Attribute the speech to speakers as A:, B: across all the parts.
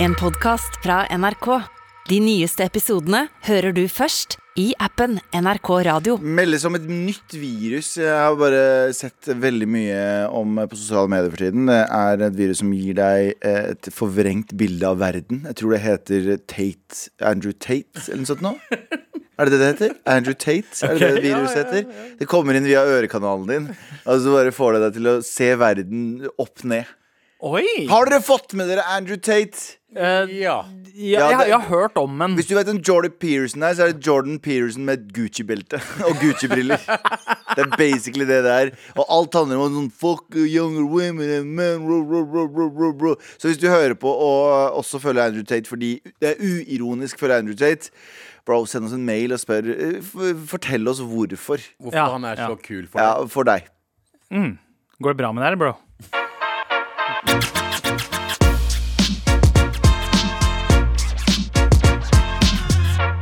A: En podcast fra NRK. De nyeste episodene hører du først i appen NRK Radio.
B: meldes om et nytt virus. Jeg har bare sett veldig mye om eh, på sosiale medier for tiden. Det er et virus som gir deg eh, et forvrengt bilde av verden. Jeg tror det heter Tate, Andrew Tate eller noe sånt nå. Er det det det heter? Andrew Tate? Er det det viruset heter? Det kommer inn via ørekanalen din, og så bare får det deg til å se verden opp ned.
C: Oi! Eh,
B: Har dere fått med dere Andrew Tate?
C: ja.
B: Ja,
C: jeg,
B: det-
C: jeg har hørt om den.
B: Hvis du vet en Jordan Pearson er, så er det Jordan Pearson med et Gucci-belte og Gucci-briller. Det er basically det det er. Og alt handler om sånn fuck younger women and men ro, ro, ro, ro, ro, ro. Så hvis du hører på og også følger Andrew Tate fordi det er uironisk følge Andrew Tate, bro, send oss en mail og spør eh, f- Fortell oss hvorfor.
D: Hvorfor
C: Ja,
D: han er så
C: ja.
D: kul for
B: Ja, for deg.
C: Går det bra med deg, bro?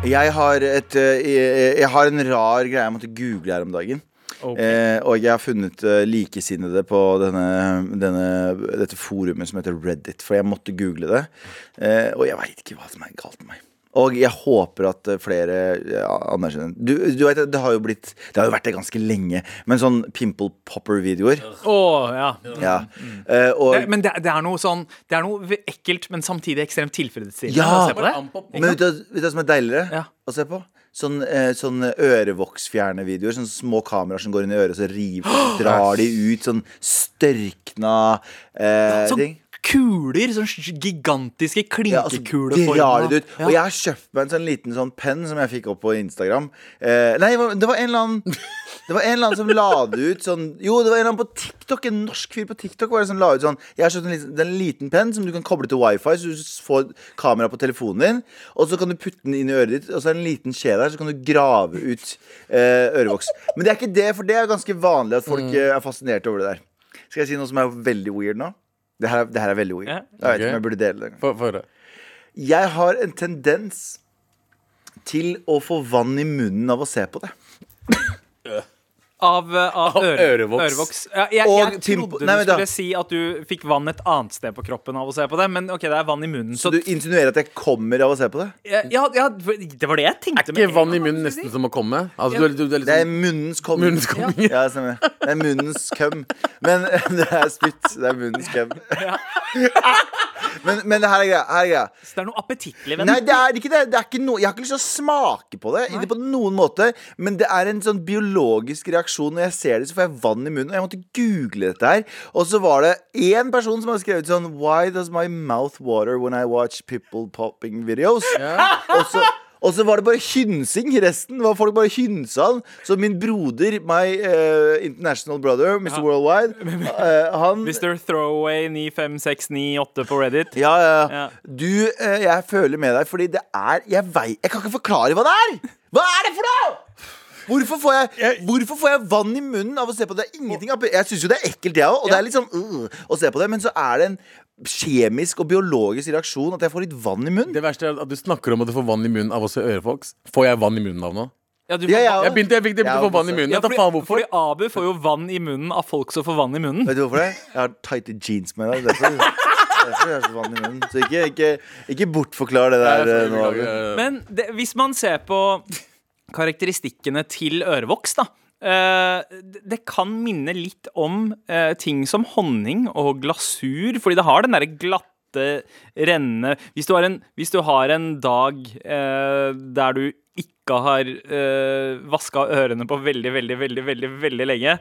B: Jeg har, et, eh, jeg, jeg har en rar greie jeg måtte google her om dagen. Eh, og jeg har funnet eh, likesinnede på denne, denne, dette forumet som heter Reddit. For jeg måtte google det. Eh, og jeg veit ikke hva som er galt med meg. Og jeg håper at eh, flere ja, anerkjenner du, du vet, det. har jo blitt Det har jo vært det ganske lenge, men sånn pimple popper-videoer.
C: Å, ja.
B: Ja. Eh, og,
C: Det, men det, det er noe sånn Det er noe ve- ekkelt, men samtidig ekstremt tilfredsstillende.
B: Ja.
C: å se sånn på det.
D: deg.
B: Men vet du, hva- vet du hva som er deiligere
C: Ja.
B: å se på? Sånn, eh, sånn ørevoksfjernevideoer. Sånne små kameraer som går inn i øret, og så river, drar de ut sånn størkna eh,
C: Sånn
B: ting.
C: kuler. Sånn sj- gigantiske
B: Ja, altså, de
C: klinkekuleformer.
B: drar det ut. Og jeg
C: ja.
B: har kjøpt meg en sånn liten sånn penn som jeg fikk opp på Instagram. Eh, nei, det var- det var en eller annen Det var en eller annen som la det ut sånn Jo, det var en eller annen på TikTok. En norsk fyr på TikTok var det som la ut sånn Jeg har kjøpt en liten, det er en liten penn som du kan koble til wifi, så du s- får kamera på telefonen din. Og så kan du putte den inn i øret ditt, og så er det en liten skje der, så kan du grave ut eh, ørevoks. Men det er ikke det, for det er ganske vanlig at folk
C: Mm.
B: eh, er fascinert over det der. Skal jeg si noe som er veldig weird nå? Det her, er- det her er veldig weird.
C: Ja.
B: Jeg vet ikke
D: Ok.
B: om jeg burde dele det. engang.
D: For, for,
B: Jeg har en tendens til å få vann i munnen av å se på det.
C: Av, eh, av
D: Av
C: øre,
D: ørevoks.
C: ørevoks. Ja, jeg,
B: Og
C: jeg
B: timpo-
C: trodde
B: Nei,
C: du
B: vent da.
C: skulle si at du fikk vann et annet sted på kroppen av å se på det, men OK, det er vann i munnen.
B: Så
C: Så,
B: du insinuerer at jeg kommer av å se på det?
C: ja, ja, ja, det var det jeg tenkte.
D: Ikke
C: med-
D: vann i munnen nesten som å komme. Altså, du, er, litt- du, du er litt
B: Det er
D: sånn
B: munnens kom.
D: Munnens kom.
B: Ja, stemmer. Det er munnens køm. Men det er spytt. Det er munnens køm. Men, men det her er greia. Her er greia.
C: Så det er noe appetittlig ved
B: Nei,
C: det.
B: det er ikke det. det er ikke noe- jeg har ikke lyst til å smake på det, ikke på noen måte. Men det er en sånn biologisk reaksjon. Når jeg ser det, så får jeg vann i munnen. Og jeg måtte google dette her. Og så var det én person som hadde skrevet sånn Why does my mouth water when I watch people popping videos? Og så og så var det bare hynsing. Resten var folk bare hynsa han. Så min broder, my eh, international brother, Mr. Worldwide, eh, han
C: Mr. Throwaway 95698 på Reddit.
B: ja, ja, ja.
C: Ja.
B: Du, eh, jeg føler med deg, fordi det er Jeg vei- Jeg kan ikke forklare hva det er! Hva er det for noe?! Hvorfor får, jeg, hvorfor får jeg vann i munnen av å se på det? Det er Ingenting av- Jeg syns jo det er ekkelt, jeg òg, og det er litt sånn øh, å se på det, men så er det en kjemisk og biologisk reaksjon at jeg får litt vann i munnen.
D: sånn- det verste er at du snakker om at du får vann i munnen av å se ørevoks. Får jeg vann i munnen av nå?
C: Ja, du
B: Ja,
C: får-
B: ja.
D: Jeg begynte, jeg begynte, jeg
B: Ja,
D: begynte å få vann i
B: masse.
D: munnen.
C: Ja,
D: Jeg tar
C: fordi,
D: faen hvorfor.
C: fordi Abu får jo vann i munnen av folk som får vann i munnen.
B: Vet du hvorfor det? Jeg har tighte jeans med deg. Derfor, derfor jeg har så vann i munnen. Så ikke, ikke, ikke bortforklar det der eh, nå. Abu.
D: Men,
C: Men det, hvis man ser på karakteristikkene til ørevoks, da eh, det- det kan minne litt om eh, ting som honning og glasur, fordi det har den derre glatte, rennende hvis, du har en- hvis du har en dag eh, der du ikke har uh, vaska ørene på veldig, veldig, veldig veldig, veldig lenge,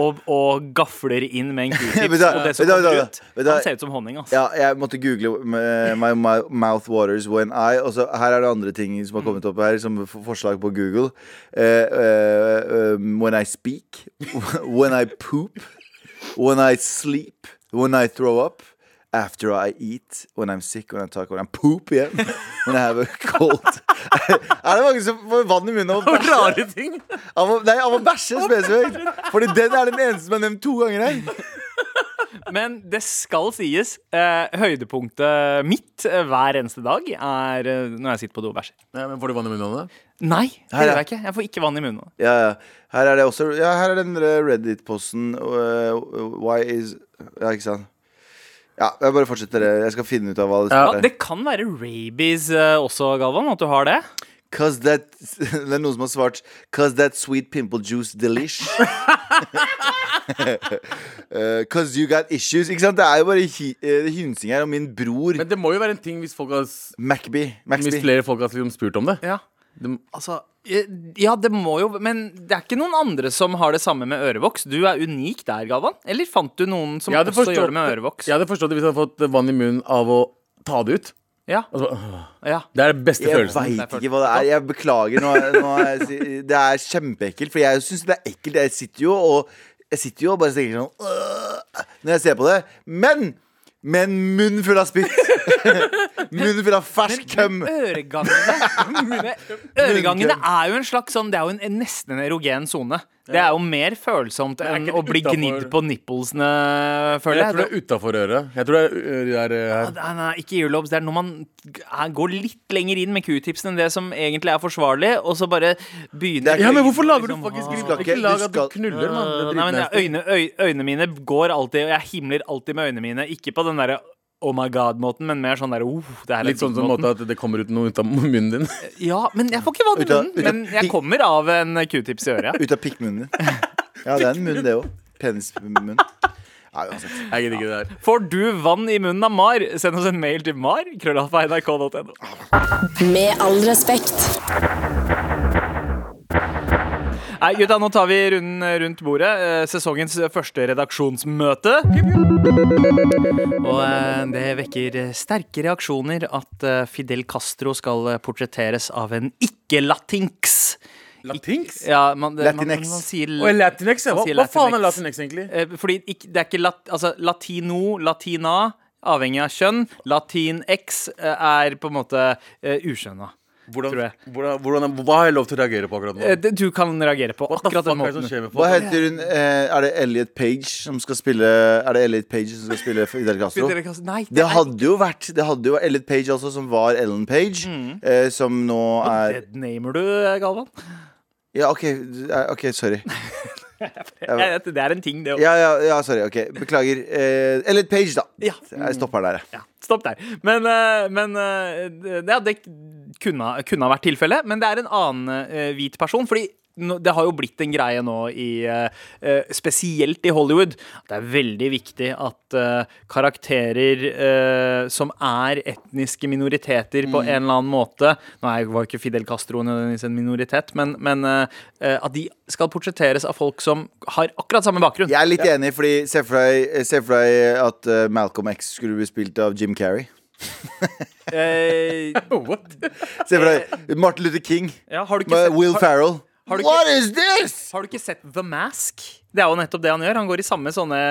C: og, og gafler inn med en
B: Vet
C: q-tips,
B: du hva,
C: og det
B: vet du
C: som
B: hva,
C: kommer
B: vet
C: ut,
B: du hva, vet du hva.
C: han ser ut som honning, altså.
B: Ja, jeg måtte google uh, My mou- mouth waters when I Og så her er det andre ting som har kommet opp her Som f- forslag på Google Eh, eh, um, When I speak When I poop When I sleep When I throw up After I eat When I'm sick When I talk When I poop igjen When I have a cold Er det mange som får vann i munnen av å bæsje?
D: rare ting.
B: Av å- Nei, av å bæsje spesifikt Fordi den er den eneste som er nevnt to ganger her
C: Men det skal sies. Eh, høydepunktet mitt eh, hver eneste dag er eh, når jeg sitter på do og bæsjer.
D: Ja, men får du vann i munnen av det?
C: Nei, det
B: Her, ja.
C: gjør jeg ikke. Jeg får ikke vann i munnen.
B: Ja, ja. Her er det også eh, Ja, her er den der Reddit-posten uh, Why is Ja, ikke sant? Ja, jeg bare fortsetter det. Jeg skal finne ut av hva det
D: Ja.
B: står.
C: Det kan være rabies eh, også, Galvan, at du har det.
B: Cause that Det er noen som har svart Cause that sweet pimple juice delish. Eh, Cause you got issues. Ikke sant? Det er jo bare hy eh, hynsing her. Og min bror
D: Men det må jo være en ting hvis, folk har, s-
B: Macby.
D: hvis
B: Maxby.
D: flere folk har liksom spurt om det.
C: Ja.
D: Det-
C: Altså, eh, ja, det må jo Men det er ikke noen andre som har det samme med ørevoks. Du er unik der, Galvan. Eller fant du noen som
D: Jeg hadde
C: også
D: forstått-
C: gjør det med ørevoks?
D: Jeg hadde forstått det hvis jeg hadde fått vann i munnen av å ta det ut.
C: Ja,
D: Altså, øh,
C: ja.
D: det er den beste
B: Jeg
D: følelsen.
B: veit ikke hva det er. Jeg beklager. Nå, nå er jeg, si- det er kjempeekkelt. For jeg syns det er ekkelt. Jeg sitter jo og Jeg sitter jo og bare tenker sånn «Åh», Når jeg ser på det. Men med en munn full av spytt. munn full av fersk køm.
C: Øregangene Øregangene er jo en slags sånn Det er jo en, en nesten en erogen sone. Det er jo mer følsomt
D: er
C: enn
D: ikke
C: å bli
D: utenfor-
C: gnidd på nipplesene, føler
D: Jeg
C: jeg.
D: tror det er utafor øret. Jeg tror det er, øh, det er, øh, her.
C: Nei, nei, ikke earlobes. Det er når man g- er- går litt lenger inn med q-tipsen enn det som egentlig er forsvarlig, og så bare begynner
B: Det er
D: Ja, men
C: øynene
D: hvorfor lager du
C: liksom,
D: faktisk
C: ah.
B: Du skal
D: ikke,
B: ikke-
D: ikke lag
B: du
D: at du
B: skal-
D: knuller, mann? Det er
C: Nei, men
D: dritnasty.
C: øyne, øy, øynene mine går alltid, og jeg himler alltid med øynene mine. Ikke på den derre Oh my god-måten, men mer sånn der oh, det her er
D: Litt sånn som
C: digg-måten.
D: måte at det kommer ut noe ut av munnen din.
C: Ja, men jeg får ikke vann i
B: Ut av-
C: munnen.
B: ut av
C: Men jeg
B: pi-
C: kommer av en q-tips i øret.
B: Ut av pikkmunnen din. Ja, det er en munn, det òg. Penismunn. Ja, uansett.
D: Jeg gidder ikke det der.
C: Får du vann i munnen av Mar, send oss en mail til mar. krøllalfa.nrk.no.
A: Med all respekt.
C: Nei, gutta, nå tar vi runden rundt bordet. Eh, Sesongens første redaksjonsmøte. Og eh, det vekker sterke reaksjoner at eh, Fidel Castro skal eh, portretteres av en ikke-latinx.
D: Latinx?
C: Ja, man, det-
B: Latinex.
C: Man, man sier,
D: Og Latinex, ja.
C: Man
D: Hva,
C: sier
D: hva faen
C: Latinx.
D: er Latinex, egentlig?
C: eh, fordi ikke, det er ikke lat, altså, latino, latina, avhengig av kjønn. Latin-x eh, er på en måte eh, uskjønna. tror
D: Hvordan,
C: jeg.
D: hvordan, hvordan, hva har jeg lov til å reagere på akkurat nå?
C: Eh, det- Du kan reagere på
D: What the
C: akkurat
D: fuck
C: den
D: er det som
C: måten.
D: skjer med
B: Hva
D: folk?
B: heter hun eh, Er det Elliot Page som skal spille Er det Elliot Page som skal spille Fidel Castro?
C: Fidel Castro- Nei,
B: Det
C: er-
B: hadde jo vært Det hadde jo vært Elliot Page også, som var Ellen Page,
C: Mm.
B: eh, som nå er
C: Deadnamer du, eh, Galvan?
B: Ja, OK, eh, ok, sorry.
C: Jeg vet, det er en ting, det òg.
B: Ja, ja, ja, sorry. OK, beklager. Eh, Elliot Page, da.
C: Ja.
B: Jeg stopper der, jeg.
C: Ja, stopp der. Men, eh, men eh, ja, det kunne, ha- kunne ha vært tilfellet. Men det er en annen eh, hvit person. fordi nå- det har jo blitt en greie nå, i, eh, eh, spesielt i Hollywood. at Det er veldig viktig at eh, karakterer eh, som er etniske minoriteter på en eller annen måte Nå er- var jo ikke Fidel Castro nødvendigvis en minoritet, men, men eh, eh, at de skal portretteres av folk som har akkurat samme bakgrunn.
B: Jeg er litt enig, fordi se for deg, se for deg at eh, Malcolm X skulle bli spilt av Jim Carrey.
C: Eh,
D: What?
B: Se for deg Martin Luther King.
C: ja, har du ikke
B: Med
C: sett-
B: Will
C: har-
B: Farrell.
C: har du ikke-
B: What is this?
C: Har du ikke sett The Mask? Det er jo nettopp det han gjør. Han går i samme sånne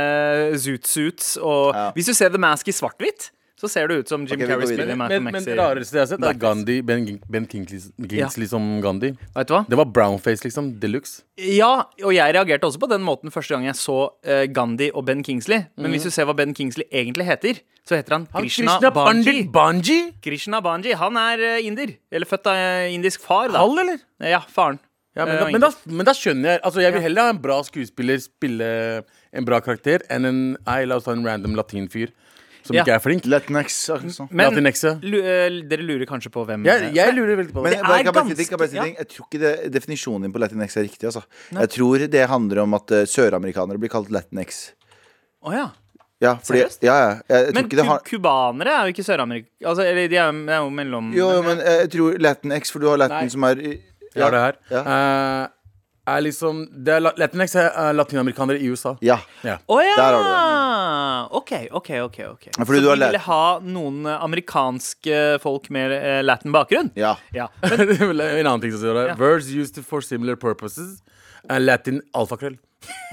C: zoot-suits. Og
B: Ja.
C: hvis du ser The Mask i svart-hvitt, så ser det ut som Jim
B: Ok, vi går
C: Carrey
B: videre.
C: spiller
D: Men,
C: Malcolm
D: men
C: X.
D: det
C: i-
D: rareste jeg har sett, er Gandhi, Ben, ben Kingsley, Kingsley som Gandhi.
C: Vet du hva?
D: Det var brownface, liksom. De luxe.
C: Ja, og jeg reagerte også på den måten første gang jeg så eh, Gandhi og Ben Kingsley. Men
B: Mhm.
C: hvis du ser hva Ben Kingsley egentlig heter, så heter han, Krishna, Banji.
D: Banji?
C: Krishna Banji, Han er eh, inder. Eller født av eh, indisk far, da.
D: Halv, eller?
C: Ja, faren.
D: Ja, men,
C: Eh,
D: da,
C: og
D: men, da, men da skjønner jeg. Altså, Jeg vil heller ha en bra skuespiller spille en bra karakter enn en Nei, la oss ta en random latinfyr som
C: Ja.
D: ikke er flink.
B: Latinx. akkurat sånn.
C: Men-
D: Latinekse.
C: lu- eh, dere lurer kanskje på hvem eh,
D: Jeg, jeg lurer veldig
B: Men
D: på det.
B: jeg, bare,
C: er
B: kan jeg bare si,
C: ganske-
B: kan jeg bare si ting? jeg tror ikke det, definisjonen din på latinx er riktig. Altså. Jeg tror det handler om at eh, søramerikanere blir kalt latinx.
C: Å, ja.
B: Ja, fordi,
C: Seriøst?
B: ja, ja. Jeg, jeg tror
C: Men
B: ikke det har
C: ku- cubanere er jo ikke Sør-Amerika. Altså, eller de er jo, de er jo mellom
B: Jo, jo, men jeg tror latinx, for du har latin
D: Nei.
B: som er
D: Jeg har det her.
B: Ja.
D: Eh, er liksom det er, la- Latinx er eh, latinamerikanere i USA.
B: Ja.
D: Ja.
C: Å ja!
B: Der har du
C: OK, OK, OK. ok
B: Ja,
C: Så
B: fordi
C: de
B: du har lært-
C: ville ha noen eh, amerikanske folk med eh, latin bakgrunn?
B: ja.
C: Ja.
D: en annen ting som står der. Verbs used for similar purposes. Eh, Latin alfakrøll.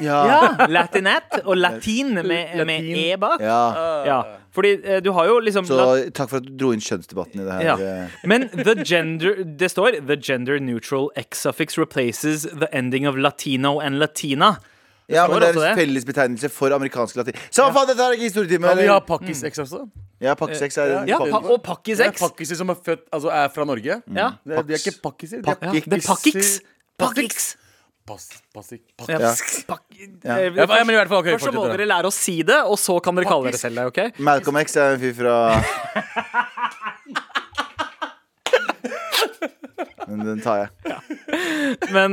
B: Ja.
C: ja Latinette og latin med, med
D: Latin.
C: e bak.
B: ja.
C: Ja, fordi eh, du har jo liksom
B: Så
C: lat-
B: takk for at du dro inn kjønnsdebatten i det her.
C: ja.
B: eh.
C: Men the gender det står The gender neutral x-suffix replaces the ending of latino and latina.
B: Ja, men det er
C: står også
B: en
C: det.
B: fellesbetegnelse for amerikansk latin. Samme faen, dette er ikke historietime!
D: Kan vi ha
B: eller?
C: Mm.
D: pakkis-X også?
B: Ja, pakke seks er
D: Ja,
C: Ja,
B: pakke-
C: pa og pakkis
D: Det er
C: x.
D: pakkiser som er født Altså er fra Norge.
B: Mm.
C: Ja.
D: Det er, de er ikke pakkiser. de er
B: Pakkis.
C: Ja, det er pakkix. Pakkix.
D: Pass, passi, pass.
C: Ja. Pak- Eh,
D: Ja, men i hvert fall, ok,
C: Først så må
D: fortsett, da.
C: dere lære å si det, og så kan dere kalle dere selv det. ok?
B: Malcolm X er en fyr fra Men den tar jeg.
C: Men,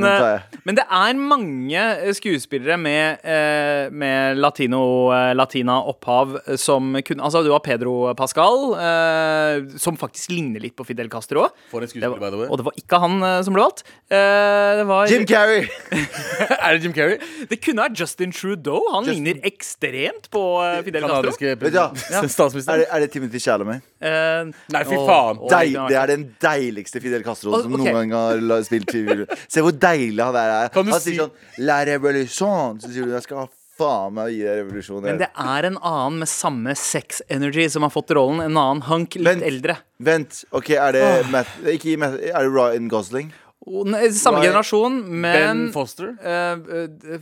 B: Den tar jeg.
C: eh, men det er mange eh, skuespillere med, eh, med latino, eh, latina opphav eh, som kunne Altså, du har Pedro Pascal, eh, som faktisk ligner litt på Fidel Castro.
D: For en
C: Det
D: skuespiller,
C: var,
D: by the way.
C: og det var ikke han eh, som ble valgt. Eh, det, var,
B: Jim Carrey!
D: er det Jim Carrey?
C: det kunne vært Justin Trudeau. Han
B: Justin-
C: ligner ekstremt på eh, Fidel Castro.
B: Vet
D: Kanadiske
B: du hva?
D: president-
B: Er
D: statsminister?
B: det, er det Timothy Chalamet?
C: Eh,
D: Nei, fy
C: å,
D: faen.
C: å,
B: Deil,
C: kunne vært-
B: det er den deiligste Fidel Castro
C: Og-
B: som
C: ok.
B: noen gang har la- spilt figur. Se hvor deilig han er.
D: Kan
B: Han
D: du
B: sier
D: si-
B: sånn La revolution! Så sier du jeg skal faen meg gi deg revolusjon.
C: Men det er en annen med samme sex energy som har fått rollen. En annen hank, litt
B: Vent.
C: eldre.
B: Vent, ok, er det Matt, ikke, Matt, Er det Ryan Gosling?
C: Og den- Samme
B: Ryan-
C: generasjon, men
D: Ben Foster?
C: Eh, eh,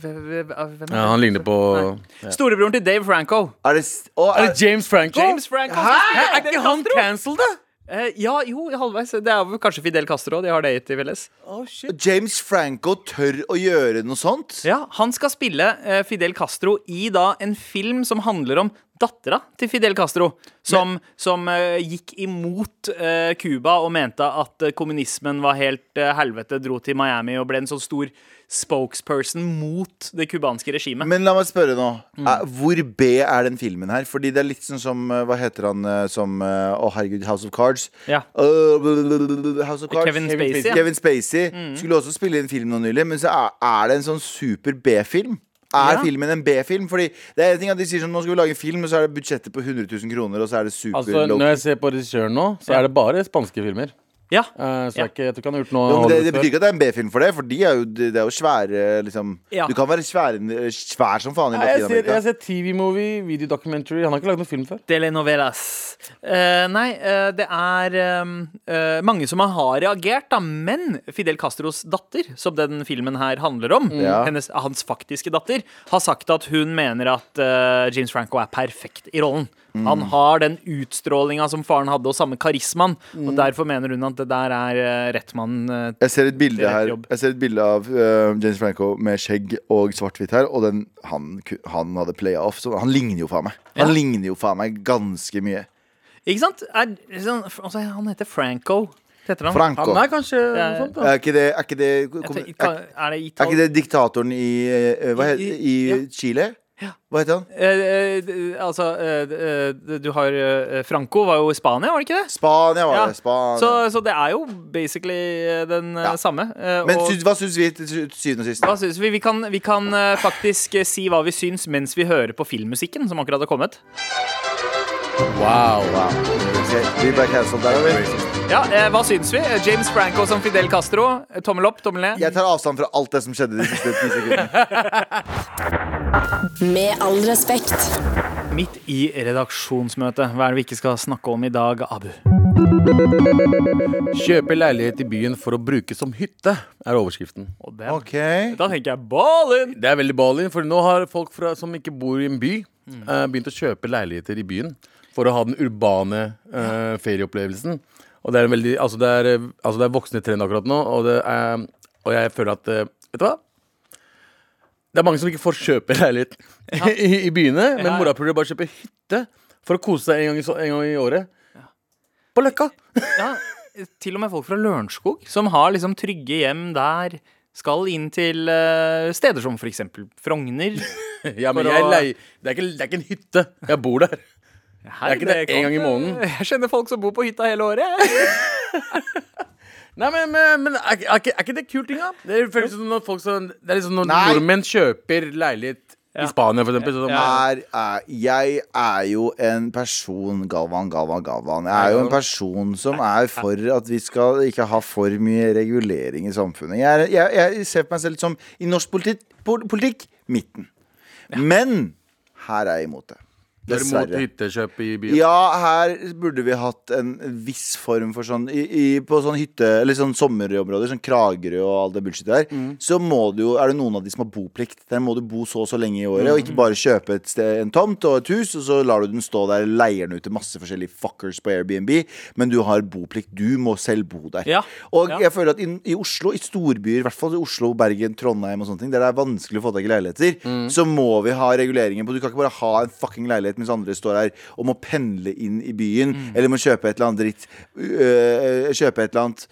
C: hvem- hvem- hvem
D: Ja,
C: er
D: han ligner på
C: det? Storebroren til Dave Franco.
B: Er det, s- å,
D: Er
B: er,
D: det James Franco?
C: James Franco.
D: Hæ? Er ikke han cancelled, da?
C: Eh, ja, jo, halvveis. Det er vel kanskje Fidel Castro. De har det til felles.
B: James Franco tør å gjøre noe sånt?
C: Ja, Han skal spille eh, Fidel Castro i da en film som handler om dattera til Fidel Castro. Som, som eh, gikk imot eh, Cuba og mente at eh, kommunismen var helt eh, helvete. Dro til Miami og ble en sånn stor spokesperson mot det cubanske regimet.
B: Men la meg spørre nå.
C: Mm.
B: Er, hvor B er den filmen her? Fordi det er litt sånn som eh, Hva heter han eh, som eh, Å, herregud, House of Cards.
C: Ja.
B: Øh, blablabla, House of Cards.
C: Kevin Spacey, ja. Mm.
B: Kevin Spacey skulle også spille i en film nå nylig, men så er, er det en sånn super B-film. Er
C: Ja.
B: filmen en B-film? Fordi det er en ting at de sier sånn Nå skal vi lage en film, og så er det budsjettet på 100 000 kroner, og så er det super
D: Altså,
B: low
D: Når jeg ser på regissøren nå, så er det bare spanske filmer.
C: Ja.
D: Eh, så
C: Ja.
D: jeg, ikke, jeg tror ikke han har gjort noe
B: Jo, men det, det
D: Hollywood før.
B: betyr ikke at det er en B-film for det, for de er jo, det er jo svære liksom.
C: Ja.
B: Du kan være svær, svær som faen i
D: Nei, jeg ser, jeg
B: Latin-Amerika.
D: har sett TV-movie, videodocumentary Han har ikke lagd noen film før.
C: Telenovelas. Eh, nei, eh, det er eh, eh, mange som har reagert, da. Men Fidel Castros datter, som den filmen her handler om,
B: Ja.
C: hennes, hans faktiske datter, har sagt at hun mener at eh, James Franco er perfekt i rollen.
B: Mm.
C: Han har den utstrålinga som faren hadde, og samme karismaen.
B: Mm.
C: Og derfor mener hun at det der er eh, rett mann. eh,
B: Jeg ser et bilde
C: Det er et
B: her
C: jobb.
B: Jeg ser et bilde av eh, James Franco med skjegg og svart-hvitt her, og den, han, ku- han hadde playa off. Så han ligner jo faen meg. Han ligner jo faen meg ganske mye.
C: ikke sant? Er, sånn, altså, han heter Franco. Heter han.
B: Franco. Eh,
D: Han er kanskje
C: Ja,
D: noe sånt, da.
B: Er ikke det, er ikke det,
C: Jeg
B: kom,
C: tror-
B: er,
C: er det
B: er
C: Ital...
B: ikke det diktatoren i eh, Hva heter
C: I-
B: I
C: ja.
B: Chile? Hva heter han?
C: Eh, eh, d- altså, eh, d- eh, du har eh, Franco var jo i Spania, var det ikke det?
B: Spania var
C: Ja.
B: det. Spania.
C: Så, så det er jo basically eh, den eh,
B: Ja.
C: samme. eh,
B: Men
C: og
B: syns- hva syns vi til sy- til syvende og sist?
C: hva syns vi? Vi kan, vi kan eh, faktisk eh, si hva vi syns mens vi hører på filmmusikken som akkurat har kommet.
D: Wow.
B: Wow. Ok, Vi ble cancelled der, eller?
C: Ja, eh, hva syns vi? Eh, James Franco som Fidel Castro. Eh, Tommel opp, tommel ned.
B: Jeg tar avstand fra alt det som skjedde de siste ti sekundene.
E: Med all respekt.
C: Midt i redaksjonsmøtet. Hva er det vi ikke skal snakke om i dag, Abu?
D: Kjøpe leilighet i byen for å bruke som hytte, er overskriften.
C: Og den-
B: Ok
C: Da tenker jeg ballen!
D: Det er veldig ballin, for nå har folk fra, som ikke bor i en by, eh, begynt å kjøpe leiligheter i byen for å ha den urbane eh, ferieopplevelsen. Og det er, en veldig, altså det, er, eh, altså det er voksende trend akkurat nå, og, det er, og jeg føler at eh, Vet du hva? Det er mange som ikke får kjøpe leilighet i, i byene, men
C: Ja, ja.
D: mora prøver bare å kjøpe hytte for å kose seg en gang i, så- en gang i året. På Løkka!
C: Ja, til og med folk fra Lørenskog, som har liksom trygge hjem der, skal inn til eh, steder som f.eks. Frogner.
D: Ja, men
C: For
D: jeg
C: å-
D: leier det, er ikke, det er ikke en hytte. Jeg bor der.
C: Hei,
D: ikke det, en gang i måneden.
C: Jeg kjenner folk som bor på hytta hele året.
D: Nei, men, men, men er, ikke- er, ikke, er ikke det kult, Inga? Det er, føles som når folk som, det er liksom når
B: Nei.
D: nordmenn kjøper leilighet
C: Ja.
D: i Spania, for eksempel. Sånn,
B: Her er, jeg er jo en person Galvan, Galvan, Galvan. Jeg er jo en person som er for at vi skal ikke ha for mye regulering i samfunnet. Jeg, er, jeg, jeg ser på meg selv som i norsk politikk, politikk midten. Men her er jeg imot det.
D: Du er imot
B: Dessverre.
D: hyttekjøp i byen?
B: Ja, her burde vi hatt en viss form for sånn i, i, På sånn hytte, eller sånn sommerområder, sånn Kragerø og all det bullshitet der, så må du jo Er det noen av de som har boplikt? Der må du bo så og så lenge i året, og ikke bare kjøpe et sted, en tomt og et hus, og så lar du den stå der, leier den ut til masse forskjellige fuckers på Airbnb, men du har boplikt. Du må selv bo der.
C: Ja,
B: Og
C: ja.
B: jeg føler at i, i Oslo, i storbyer, i hvert fall i Oslo, Bergen, Trondheim og sånne ting, der det er vanskelig å få tak i leiligheter,
C: Mm.
B: så må vi ha reguleringer på Du kan ikke bare ha en fucking leilighet mens andre står her og må pendle inn i byen,
C: Mm.
B: eller må kjøpe et eller annet dritt. øh, kjøpe et eller annet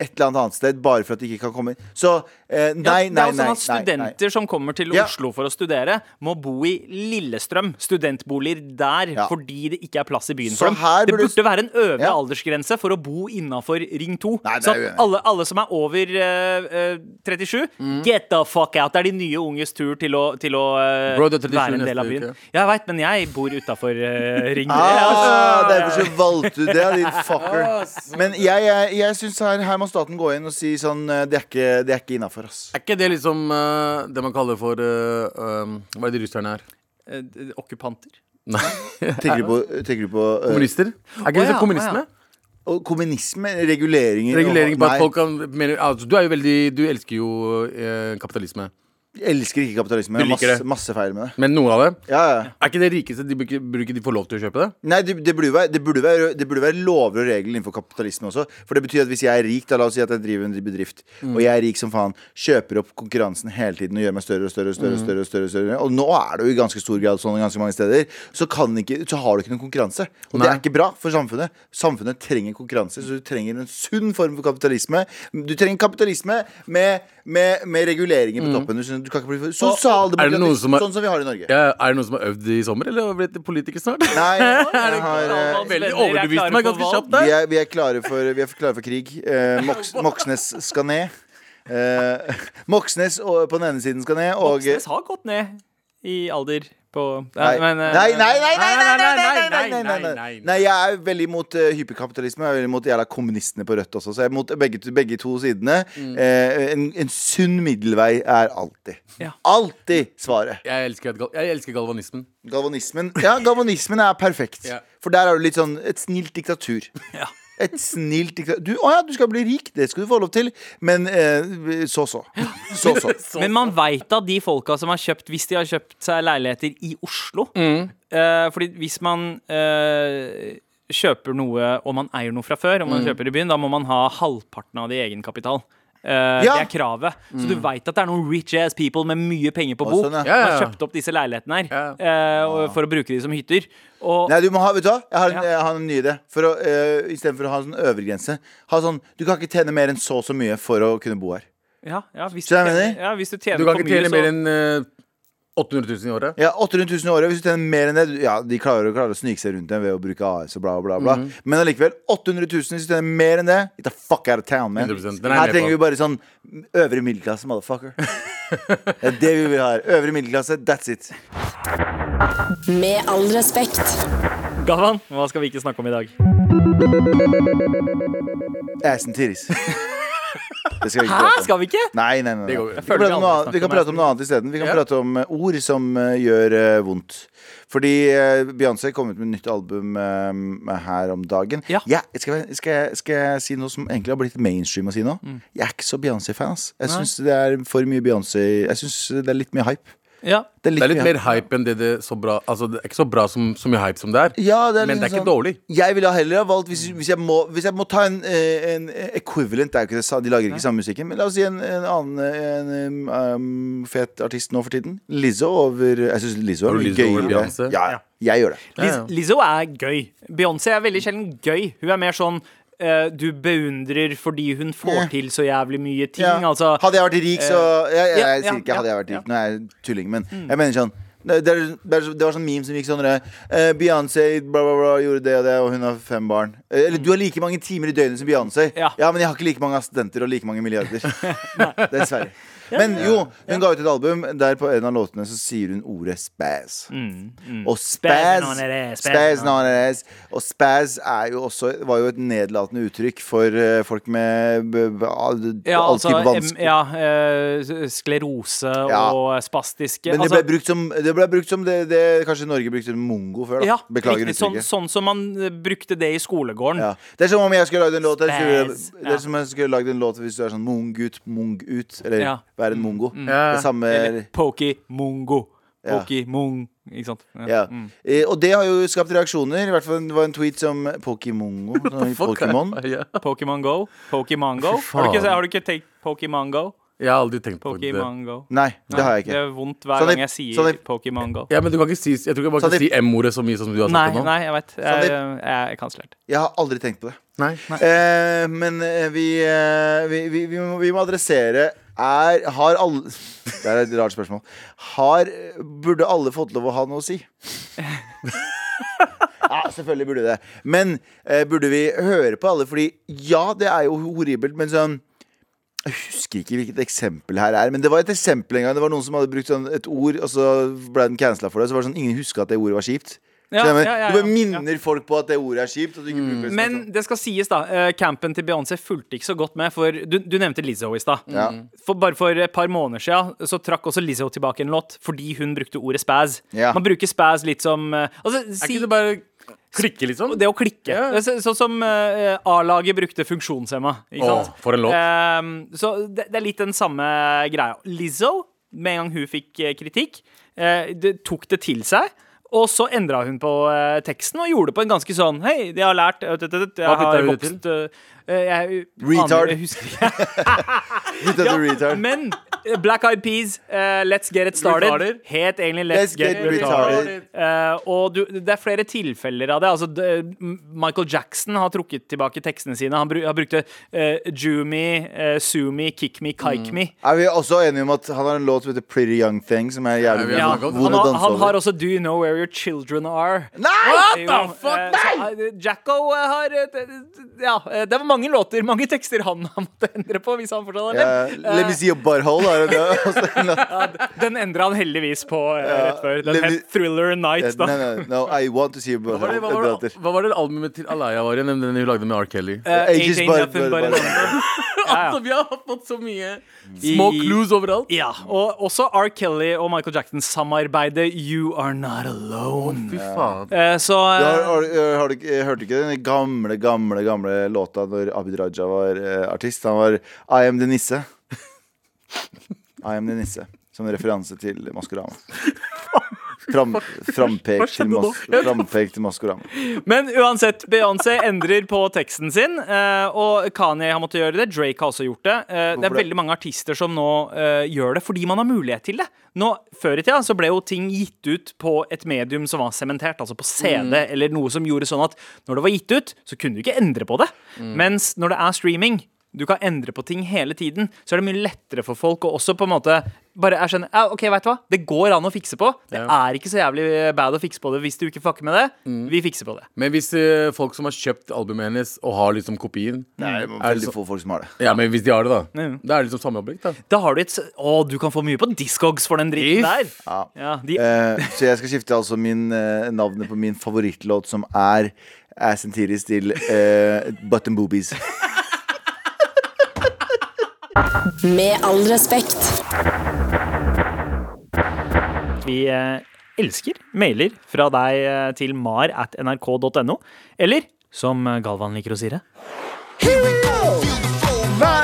B: et eller annet annet sted, bare for at de ikke kan komme inn. Så eh, nei, nei,
C: Ja, det er jo
B: nei.
C: sånn at
B: nei, nei.
C: Studenter som kommer til
B: Ja.
C: Oslo for å studere, må bo i Lillestrøm. Studentboliger der
B: Ja
C: fordi det ikke er plass i byen
B: Så
C: for dem.
B: her
C: Det
B: burde-
C: burde være en øvre
B: Ja.
C: aldersgrense for å bo innafor Ring 2.
B: Nei, det er
C: så
B: jeg uenig i. Mm.
C: at alle, alle som er over eh, eh, 37, get the fuck out. Det er de nye unges tur til å, til å eh,
D: Bro, det er 37
C: være en del av
D: neste
C: byen.
D: uke.
C: Jeg veit, men jeg bor utafor eh, Ring 3.
B: Ah,
C: altså.
B: derfor så valgte du det, din fucker. Men jeg, jeg, jeg syns her, her må staten gå inn og si sånn eh, Det er ikke, det er ikke innafor, ass.
D: Er ikke det liksom eh, det man kaller for eh, um, Hva er det de russerne er?
C: Eh, eh, Okkupanter.
D: Nei,
B: Tenker du på, tenker du på eh,
D: kommunister? Er
C: Å
D: ikke det liksom
C: ja,
D: kommunisme?
C: å
B: og kommunisme? Reguleringer?
D: Regulering
B: og-
D: på at
B: Nei,
D: folk kan mener, altså, Du er jo veldig Du elsker jo eh, kapitalisme.
B: Jeg elsker ikke kapitalisme.
D: Du
B: Jeg har
D: liker
B: masse,
D: det.
B: masse feil med det.
D: Men noen av det
B: Ja, ja.
D: Er ikke det rikeste de bruker, bruker de får lov til å kjøpe det?
B: Nei, det, det, burde jo være, det, burde være, det burde være lover og regler innenfor kapitalisme også. For det betyr at hvis jeg er rik, da la oss si at jeg driver en bedrift, og jeg er rik som faen, kjøper opp konkurransen hele tiden og gjør meg større og større og
D: Mm.
B: større. Og større, og større, og større. Og nå er det jo i ganske stor grad sånn ganske mange steder. Så, kan ikke, så har du ikke noen konkurranse. Og det
D: Nei.
B: er ikke bra for samfunnet. Samfunnet trenger konkurranse, så du trenger en sunn form for kapitalisme. Du trenger kapitalisme med, med, med reguleringer på toppen. Du, skjønner, du kan ikke bli for
D: Mm. er det noen
B: sosialdemokratisk,
D: som er-
B: sånn som vi har i Norge.
D: Ja, er det noen som har øvd i sommer, eller har blitt politiker snart?
B: Nei, jeg har eh,
D: Veldig
C: Venner er
D: overbevist
C: klare
D: meg
C: for
D: ganske
C: valg.
D: kjapt
B: Vi
D: der.
B: er, vi er, klare, for, vi er klare for krig. Eh, Mox, Moxnes skal ned. Eh, Moxnes og- på den ene siden skal ned, og
C: Voksnes har gått ned i alder på
B: Nei, nei,
C: men,
B: nei, nei,
C: eh,
B: nei, nei, nei,
C: nei,
B: nei, nei, nei, nei, nei. Nei, jeg er veldig imot eh, hyperkapitalisme. Jeg er veldig imot jævla kommunistene på Rødt også. Så jeg er imot begge, begge to sidene. Eh, en, en sunn middelvei er alltid.
C: Ja.
B: Alltid svaret.
D: Jeg elsker, et gal- jeg elsker galvanismen.
B: Galvanismen Ja, galvanismen er perfekt.
D: Ja.
B: For der er du litt sånn et snilt diktatur.
C: Ja.
B: Et snilt diktatur. Du, å ja, du skal bli rik, det skal du få lov til, men eh, så så. Så så.
C: Men man veit at de folka som har kjøpt, hvis de har kjøpt seg leiligheter i Oslo
B: Mm.
C: eh, Fordi hvis man eh, kjøper noe, og man eier noe fra før, og man
B: Mm.
C: kjøper i byen, da må man ha halvparten av det i egenkapital. Eh,
B: Ja. Mm.
C: Det er kravet. Så du veit at det er noen rich ass people med mye penger på
B: Å,
C: bok
B: sånn, ja.
C: som
D: Ja, ja,
C: har
D: ja.
C: kjøpt opp disse leilighetene her
D: Ja.
C: eh, og- for å bruke de som hytter. Og
B: Nei, du må ha, vet du hva? Jeg har en,
C: Ja.
B: jeg har en ny idé. For å, eh, Istedenfor å ha en sånn øvre grense. Ha sånn, du kan ikke tjene mer enn så og så mye for å kunne bo her.
C: ja, ja, hvis, du
B: Skjønner du hva jeg
C: tjener,
B: mener?
C: ja, hvis du tjener
D: Du kan
C: for
D: ikke tjene
C: mye, så-
D: mer enn eh, 800 000 i året.
B: Ja, 800 000 i året. Hvis du tjener mer enn det du- Ja, de klarer, klarer å snike seg rundt det ved å bruke AS og bla, bla, bla.
D: Mhm.
B: Men allikevel, 800 000 hvis du tjener mer enn det. Get the fuck out of town, man.
D: 100%, den er jeg
B: Her
D: med
B: trenger vi
D: på.
B: bare sånn øvre middelklasse, motherfucker. det er det vi vil ha her. Øvre middelklasse, that's it.
E: Med all respekt.
C: Galvan, hva skal vi ikke snakke om i dag?
B: Assen titties. Det skal vi ikke
C: Hæ,
B: prate om.
C: skal vi ikke?
B: Nei, nei, nei. nei.
D: Det går jo.
B: Vi,
D: Jeg
B: kan
C: føler vi
B: prate om
C: aldri
B: noe annet. vi kan prate om noe annet isteden.
C: snakker om
B: Vi kan
D: Ja.
B: prate om eh, ord som eh, gjør eh, vondt. Fordi eh, Beyoncé kom ut med nytt album eh, her om dagen.
C: Ja.
B: jeg- skal, jeg, skal, jeg, skal jeg si noe som egentlig har blitt mainstream å si nå? Jeg er ikke så Beyoncé-fan. ass. Jeg
C: Nei.
B: syns det er for mye Beyoncé Jeg syns det er litt mye hype.
C: Ja.
B: Det er
D: Det er litt
B: mye
D: mer hype enn det det så bra Altså, det er ikke så bra som, så mye hype som det er.
B: Ja, det er
D: Men
B: litt
D: det er ikke
B: sånn-
D: dårlig.
B: Jeg ville heller ha valgt Hvis, hvis, jeg, må, hvis jeg må ta en, eh, en equivalent Det er jo ikke det sa- De lager ikke samme musikken Men la oss si en, en annen eh, en, um, fet artist nå for tiden Lizzo over Jeg synes Lizzo
D: Har
B: er
D: du
B: mye
D: Lizzo over
B: gøyere.
D: Beyoncé?
B: Ja, ja. jeg gjør det
D: Ja, ja.
C: Liz Lizzo er gøy. Beyoncé er veldig sjelden gøy. Hun er mer sånn eh, du beundrer fordi hun får til så jævlig mye ting.
B: ja.
C: Altså, eh,
B: Hadde jeg vært rik så Jeg, jeg,
C: ja,
B: jeg
C: ja,
B: sier ikke hadde jeg vært
C: ja, Mm.
B: rik Nå er jeg tulling Men jeg mener sånn det, det, er- det er- det var sånn meme som gikk sånn eh, Beyoncé bla, bla, bla, gjorde det og det Og hun har fem barn Eh, Eller du har like mange timer i døgnet som Beyoncé
C: Ja.
B: men jeg har ikke like mange assistenter og like mange milliarder Dessverre Men jo, hun ga ut et album Der på en av låtene så sier hun ordet spaz
C: mm.
B: Og
C: Spaz
B: spaz
C: on it ass, spaz
B: Spaz
C: on
B: on it ass. Og spaz er jo også, var jo et nedlatende uttrykk For eh, folk med b- b- all,
C: ja,
B: all
C: altså,
B: type
C: em,
B: vansker
C: ja, eh, sklerose
B: Ja.
C: og spastiske
B: men det
C: altså,
B: ble brukt som, det ble brukt som det, det kanskje Norge brukte mongo før. da
C: Ja,
B: Beklager
C: riktig, sånn,
B: uttrykket.
C: sånn som man eh, brukte det i skolegården.
B: Ja. Det er som om jeg skulle lagd en låt jeg skulle,
C: Spes,
B: Det er som om jeg skulle lagd en låt hvis du er sånn mung-ut, mung-ut, eller
C: Ja. Mm,
B: være en mongo.
D: Ja.
B: Det samme
C: Eller Poki Mongo.
B: Ja.
C: Poki Mung, ikke sant. Ja. Mm.
B: ja. Eh, Og det har jo skapt reaksjoner. I hvert fall det var en tweet som Pokimongo. Pokemon.
D: Ja.
C: Pokémon Go. Pokémon Go.
D: Fy
C: Har du ikke,
D: faen.
C: har du ikke tenkt Pokémon Go?
D: Jeg har aldri tenkt på det.
C: Pokémon Go.
B: Nei, det har jeg
C: Det
B: ikke.
C: er vondt hver
B: Sånn i-
C: gang jeg sier
B: sånn i-
C: Pokémon Go.
D: Ja, men du kan ikke si, Jeg tror ikke man
B: Så
D: kan
B: det-
D: si M-ordet så mye som du har
C: Nei,
D: sagt det nå.
C: nei, jeg vet.
B: Sånn i-
C: Jeg, jeg er kansellert.
B: Jeg har aldri tenkt på det.
D: Nei.
B: Eh, men eh, vi, eh, vi, vi, vi, må, vi må adressere er, Har alle Det er et rart spørsmål. Har, burde alle fått lov å ha noe å si? Ja, selvfølgelig burde det. Men eh, burde vi høre på alle? Fordi ja, det er jo horribelt, men sånn jeg husker ikke hvilket eksempel her er, men det var et eksempel en gang. Det var noen som hadde brukt sånn et ord, og så ble den cancela for det. Så var det sånn, ingen huska at det ordet var kjipt.
C: Ja,
B: Skjønner du?
C: ja, ja,
B: du bare
C: ja.
B: minner folk på at det ordet er kjipt. Og du ikke bruker det som et sånt-
C: Men det skal sies, da. eh, Campen til Beyoncé fulgte ikke så godt med, for du, du nevnte Lizzo i stad.
B: Ja.
C: For bare for et par måneder siden så trakk også Lizzo tilbake en låt fordi hun brukte ordet spaz.
B: Ja.
C: Man bruker spaz litt som eh, altså,
D: Er
C: si,
D: ikke det bare klikke, liksom?
C: det å klikke.
D: Ja.
C: Det er så- Sånn som eh, A-laget brukte funksjonshemma. Ikke
D: Åh,
C: sant?
D: for en låt.
C: Eh, så det, det er litt den samme greia. Lizzo, med en gang hun fikk eh, kritikk, eh, det, tok det til seg. Og så endra hun på eh, teksten og gjorde det på en ganske sånn Hei, jeg har lært øh, tøt, tøt, tøt, Jeg
D: Hva bytta
C: har
D: hun det
C: vokst øh, øh, jeg,
B: Retard.
C: aner- jeg husker ikke.
B: Bytte til retard.
C: Men eh, Black Eyed Peas, eh, Let's Get It Started,
D: Retarder.
C: het egentlig Let's, Get, Retarded. Eh, og du, det er flere tilfeller av det. Altså, d- M- Michael Jackson har trukket tilbake tekstene sine. Han, bru, han brukte eh, Jumi, eh, Sumi, Kick Me,
D: Mm.
C: Kike Me.
B: Er vi også enige om at han har en låt som heter Pretty Young Thing, som er
D: Ja,
B: jævlig
D: vi
C: Ja,
D: har
B: vond
D: snakket om
B: vond å
D: det.
C: han, har,
B: danse
C: han har
B: over?
C: også Do You Know Where Your Children Are.
B: Nei!
C: Jo,
D: the fuck?
C: eh, så, eh, Jacko eh, har eh, d- d- Ja, eh, det var mange låter, mange tekster han har måttet endre på hvis han fortsatt har
B: Eh,
C: dem.
B: let me see your butthole. Er det det? Altså, Også en låt.
C: Den endra han heldigvis på eh, rett før. Den
B: let me-
C: het Thriller Night,
B: Nei,
C: da.
B: nei, no, I want to see your
D: Hva var
B: butthole.
D: det, hva var
B: Det
D: det,
B: heter.
D: hva var det albumet til Alaya var igjen? Den den hun lagde med R. Kelly?
C: Eh,
B: Ages
C: Ain't
B: but- but-
C: Nothing But a
B: but-
C: Number. ja.
D: Altså, vi har fått så mye små
C: I-
D: clues overalt.
C: Ja, og også R. Kelly og Michael Jackson samarbeidet You Are Not Alone.
D: Fy faen.
C: Eh, så
B: Du Har,
C: eh,
B: har, har du, ikke- hørte du ikke den gamle, gamle gamle låta når Abid Raja var eh, artist? Han var I am the nisse. I am the nisse. Som en referanse til Maskorama. Fram, frampek, til mas, frampek til Maskorama.
C: Men uansett, Beyoncé endrer på teksten sin, eh, og Kanye har måttet gjøre det. Drake har også gjort det. Eh, det er
B: Hvorfor det?
C: veldig mange artister som nå eh, gjør det fordi man har mulighet til det. Nå, Før i tida så ble jo ting gitt ut på et medium som var sementert, altså på CD,
B: Mm.
C: eller noe som gjorde sånn at når det var gitt ut, så kunne du ikke endre på det.
B: Mm.
C: Mens når det er streaming du kan endre på ting hele tiden, så er det mye lettere for folk å også på en måte bare erkjenne ja, OK, vet du hva, det går an å fikse på. Det
D: Ja.
C: er ikke så jævlig bad å fikse på det hvis du ikke fucker med det.
B: Mm.
C: Vi fikser på det.
D: Men hvis eh, folk som har kjøpt albumet hennes og har liksom kopien
B: Nei, det er
D: er det
B: veldig
D: så,
B: få folk som har det.
D: Ja, men hvis de har det, da.
C: Ja.
D: Da er det liksom samme objekt, da.
C: Da har du et s- Å, du kan få mye på Discogs for den dritten der.
B: Ja.
C: Ja, de,
B: Eh, så jeg skal skifte altså min, eh, navnet på min favorittlåt, som er Ass and Titties, til eh, Butt and Boobies.
E: Med all respekt.
C: vi eh, elsker mailer fra deg eh, til mar at nrk.no. Eller som eh, Galvan liker å si det.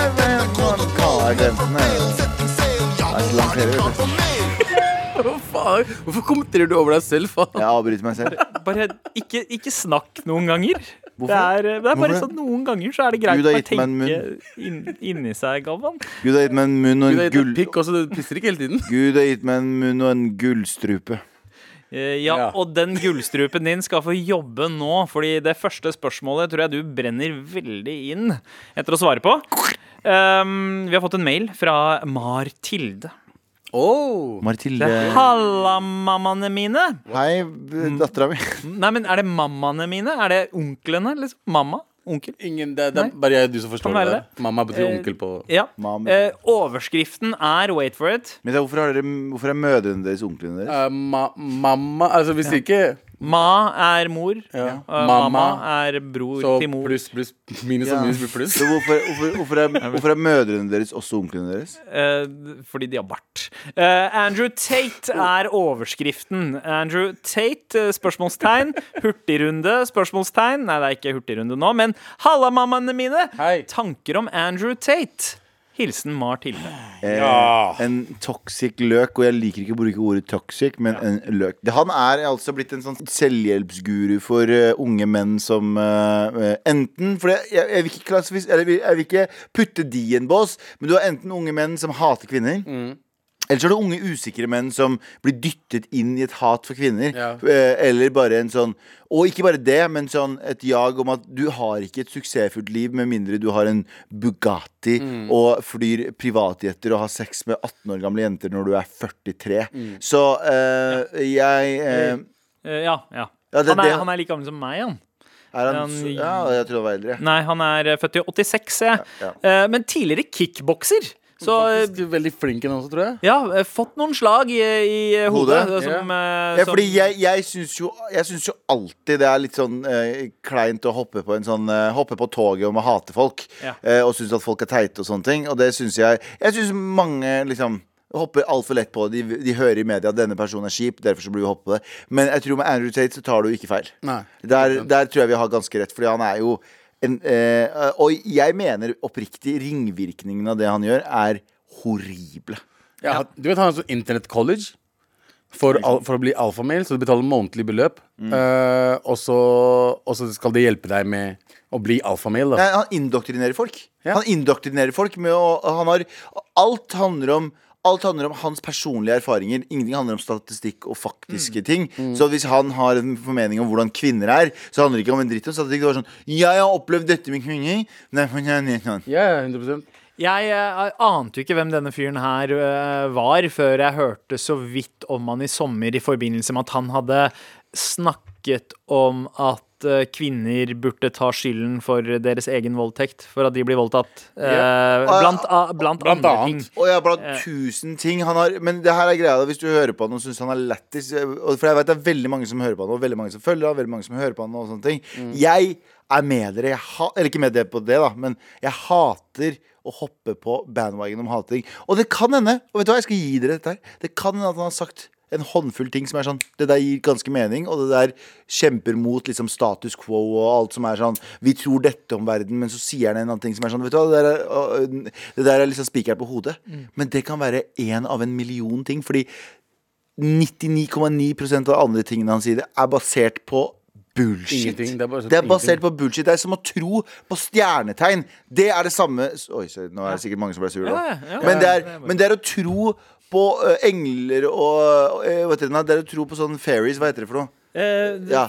B: Jeg glemte den, jeg. Det er så langt hele, vet du.
D: Hva faen? Hvorfor kommenterer du over deg selv, faen?
B: Jeg avbryter meg selv.
C: Bare ikke, ikke snakk noen ganger. Det
B: Hvorfor?
C: er, eh, det er bare
B: Hvorfor det?
C: sånn noen ganger så er det greit
B: Gud har
C: å
B: gitt meg en
C: tenke inn, inni seg, Galvan.
B: Gud har gitt meg en munn og
D: Du er
B: en
D: gitt
B: gull...
D: et pikk også, du pisser ikke hele tiden.
B: Gud har gitt meg en munn og en gullstrupe.
C: Eh, Ja,
D: Ja.
C: og den gullstrupen din skal få jobbe nå, fordi det første spørsmålet tror jeg du brenner veldig inn etter å svare på. Um, vi har fått en mail fra Martilde.
D: Oh.
C: Det
B: Mathilde
C: er hallamammaene mine.
B: eh, Hei, dattera mi.
C: Nei, men er det mammaene mine? Er det onklene? Liksom? Mamma? Onkel?
D: Ingen, det, er- det er bare jeg og du som forstår
C: Kan være
D: det. der. Mamma betyr
C: Eh,
D: onkel på
C: Ja.
B: Mam.
C: Eh, overskriften er Wait for it.
B: Men hvorfor, har dere, hvorfor er mødrene deres onklene deres?
D: Eh, ma Mamma Altså, hvis ikke
C: Ma er mor.
D: Ja.
C: og Mamma
D: Mamma.
C: er bror
D: Så
C: til mor.
D: pluss, pluss, minus
B: Ja.
D: og minus blir pluss.
B: Så hvorfor, hvorfor, hvorfor, er, hvorfor er mødrene deres også onklene deres?
C: Eh, fordi de har bart. Eh, Andrew Tate er overskriften. Andrew Tate, eh, spørsmålstegn. Hurtigrunde, spørsmålstegn. Nei, det er ikke hurtigrunde nå, men halla, mammaene mine!
D: Hei.
C: Tanker om Andrew Tate. Hilsen Mar Tilde.
B: Eh,
D: Ja.
B: En toxic løk, og jeg liker ikke å bruke ordet toxic, men en løk. Det- Han er altså blitt en sånn selvhjelpsguru for eh, unge menn som eh, eh, enten For jeg, jeg, jeg, vil ikke klassifis- eller jeg, vil- jeg vil ikke putte de i en bås, men du har enten unge menn som hater kvinner. Eller så er det unge usikre menn som blir dyttet inn i et hat for kvinner.
D: Ja.
B: Eh, Eller bare en sånn Og ikke bare det, men sånn et jag om at du har ikke et suksessfullt liv med mindre du har en Bugatti og flyr privatjetter og har sex med 18 år gamle jenter når du er 43. Så eh, jeg eh,
C: Eh, ja, ja.
B: Ja, det-
C: han, er,
B: det-
C: han er like gammel som meg, han.
B: Er han
C: Han-
B: så, Ja, jeg tror han var eldre.
C: Nei, han er eh, født i 86, ser jeg.
B: Ja,
C: Eh, men tidligere kickbokser. Så eh,
D: Faktisk veldig flink en også, tror jeg.
C: ja, eh, fått noen slag i, i eh, hodet.
B: Hodet?
C: eh, Som, eh,
B: Ja,
C: som-
B: fordi jeg, jeg syns jo, jeg syns jo alltid det er litt sånn eh, kleint å hoppe på, en sånn, eh, hoppe på toget om å hate folk.
C: Ja.
B: eh, og synes at folk er teite og sånne ting. Og det syns jeg Jeg syns mange liksom hopper altfor lett på det. De, de hører i media at denne personen er kjip, derfor så blir vi hoppe på det. Men jeg tror med Andrew Tate så tar du ikke feil.
D: Nei.
B: Der, der tror jeg vi har ganske rett, fordi han er jo en eh, Og jeg mener oppriktig ringvirkningen av det han gjør, er horrible.
D: Jeg har- Du vet han har sånn internettcollege for, al- for å bli alfamil, så du betaler månedlig beløp. Eh, og, så, og så skal det hjelpe deg med å bli alfamil, da.
B: Nei, han indoktrinerer folk.
D: Ja.
B: Han indoktrinerer folk med å Han har Alt handler om Alt handler om hans personlige erfaringer. Ingenting handler om statistikk og faktiske
D: Mm.
B: ting. Så hvis han har en formening om hvordan kvinner er, så handler det ikke om en dritt om statistikk. Det var sånn Jeg har opplevd dette med kvinner. Derfor er jeg sånn.
D: Ja, ja, 100
C: Jeg eh, ante jo ikke hvem denne fyren her eh, var, før jeg hørte så vidt om han i sommer i forbindelse med at han hadde snakket om at eh, kvinner burde ta skylden for deres egen voldtekt, for at de blir voldtatt. Eh, Blant, a- blant,
D: Blant
C: andre
D: annet.
C: ting. Eh.
B: Og jeg har blant tusen ting han har Men det her er greia da, hvis du hører på han og syns han er lættis eh, og- For jeg vet det er veldig mange som hører på han, og veldig mange som følger han, veldig mange som hører på han og sånne ting.
C: Mm.
B: Jeg er med dere, jeg ha, eller ikke med dere på det, da, men jeg hater å hoppe på bandwagon om hating. Og det kan hende, og vet du hva, jeg skal gi dere dette her, det kan hende at han har sagt en håndfull ting som er sånn Det der gir ganske mening, og det der kjemper mot liksom status quo og alt som er sånn Vi tror dette om verden, men så sier han en annen ting som er sånn Vet du hva, det der er, å, ø, det der er liksom spikeren på hodet.
D: Mm.
B: Men det kan være én av en million ting, fordi 99,9 av de andre tingene han sier, det er basert på bullshit.
D: Ingenting, det er sånn basert på
B: det er basert på bullshit. Det er som å tro på stjernetegn. Det er det samme Oi, sorry, nå er det sikkert mange som ble sure. da.
C: Ja, ja.
B: Men, det er, men det er å tro på eh, engler og eh, Vet dere, nei, det er å tro på sånn fairies, hva heter det for noe?
C: Eh,
B: Ja.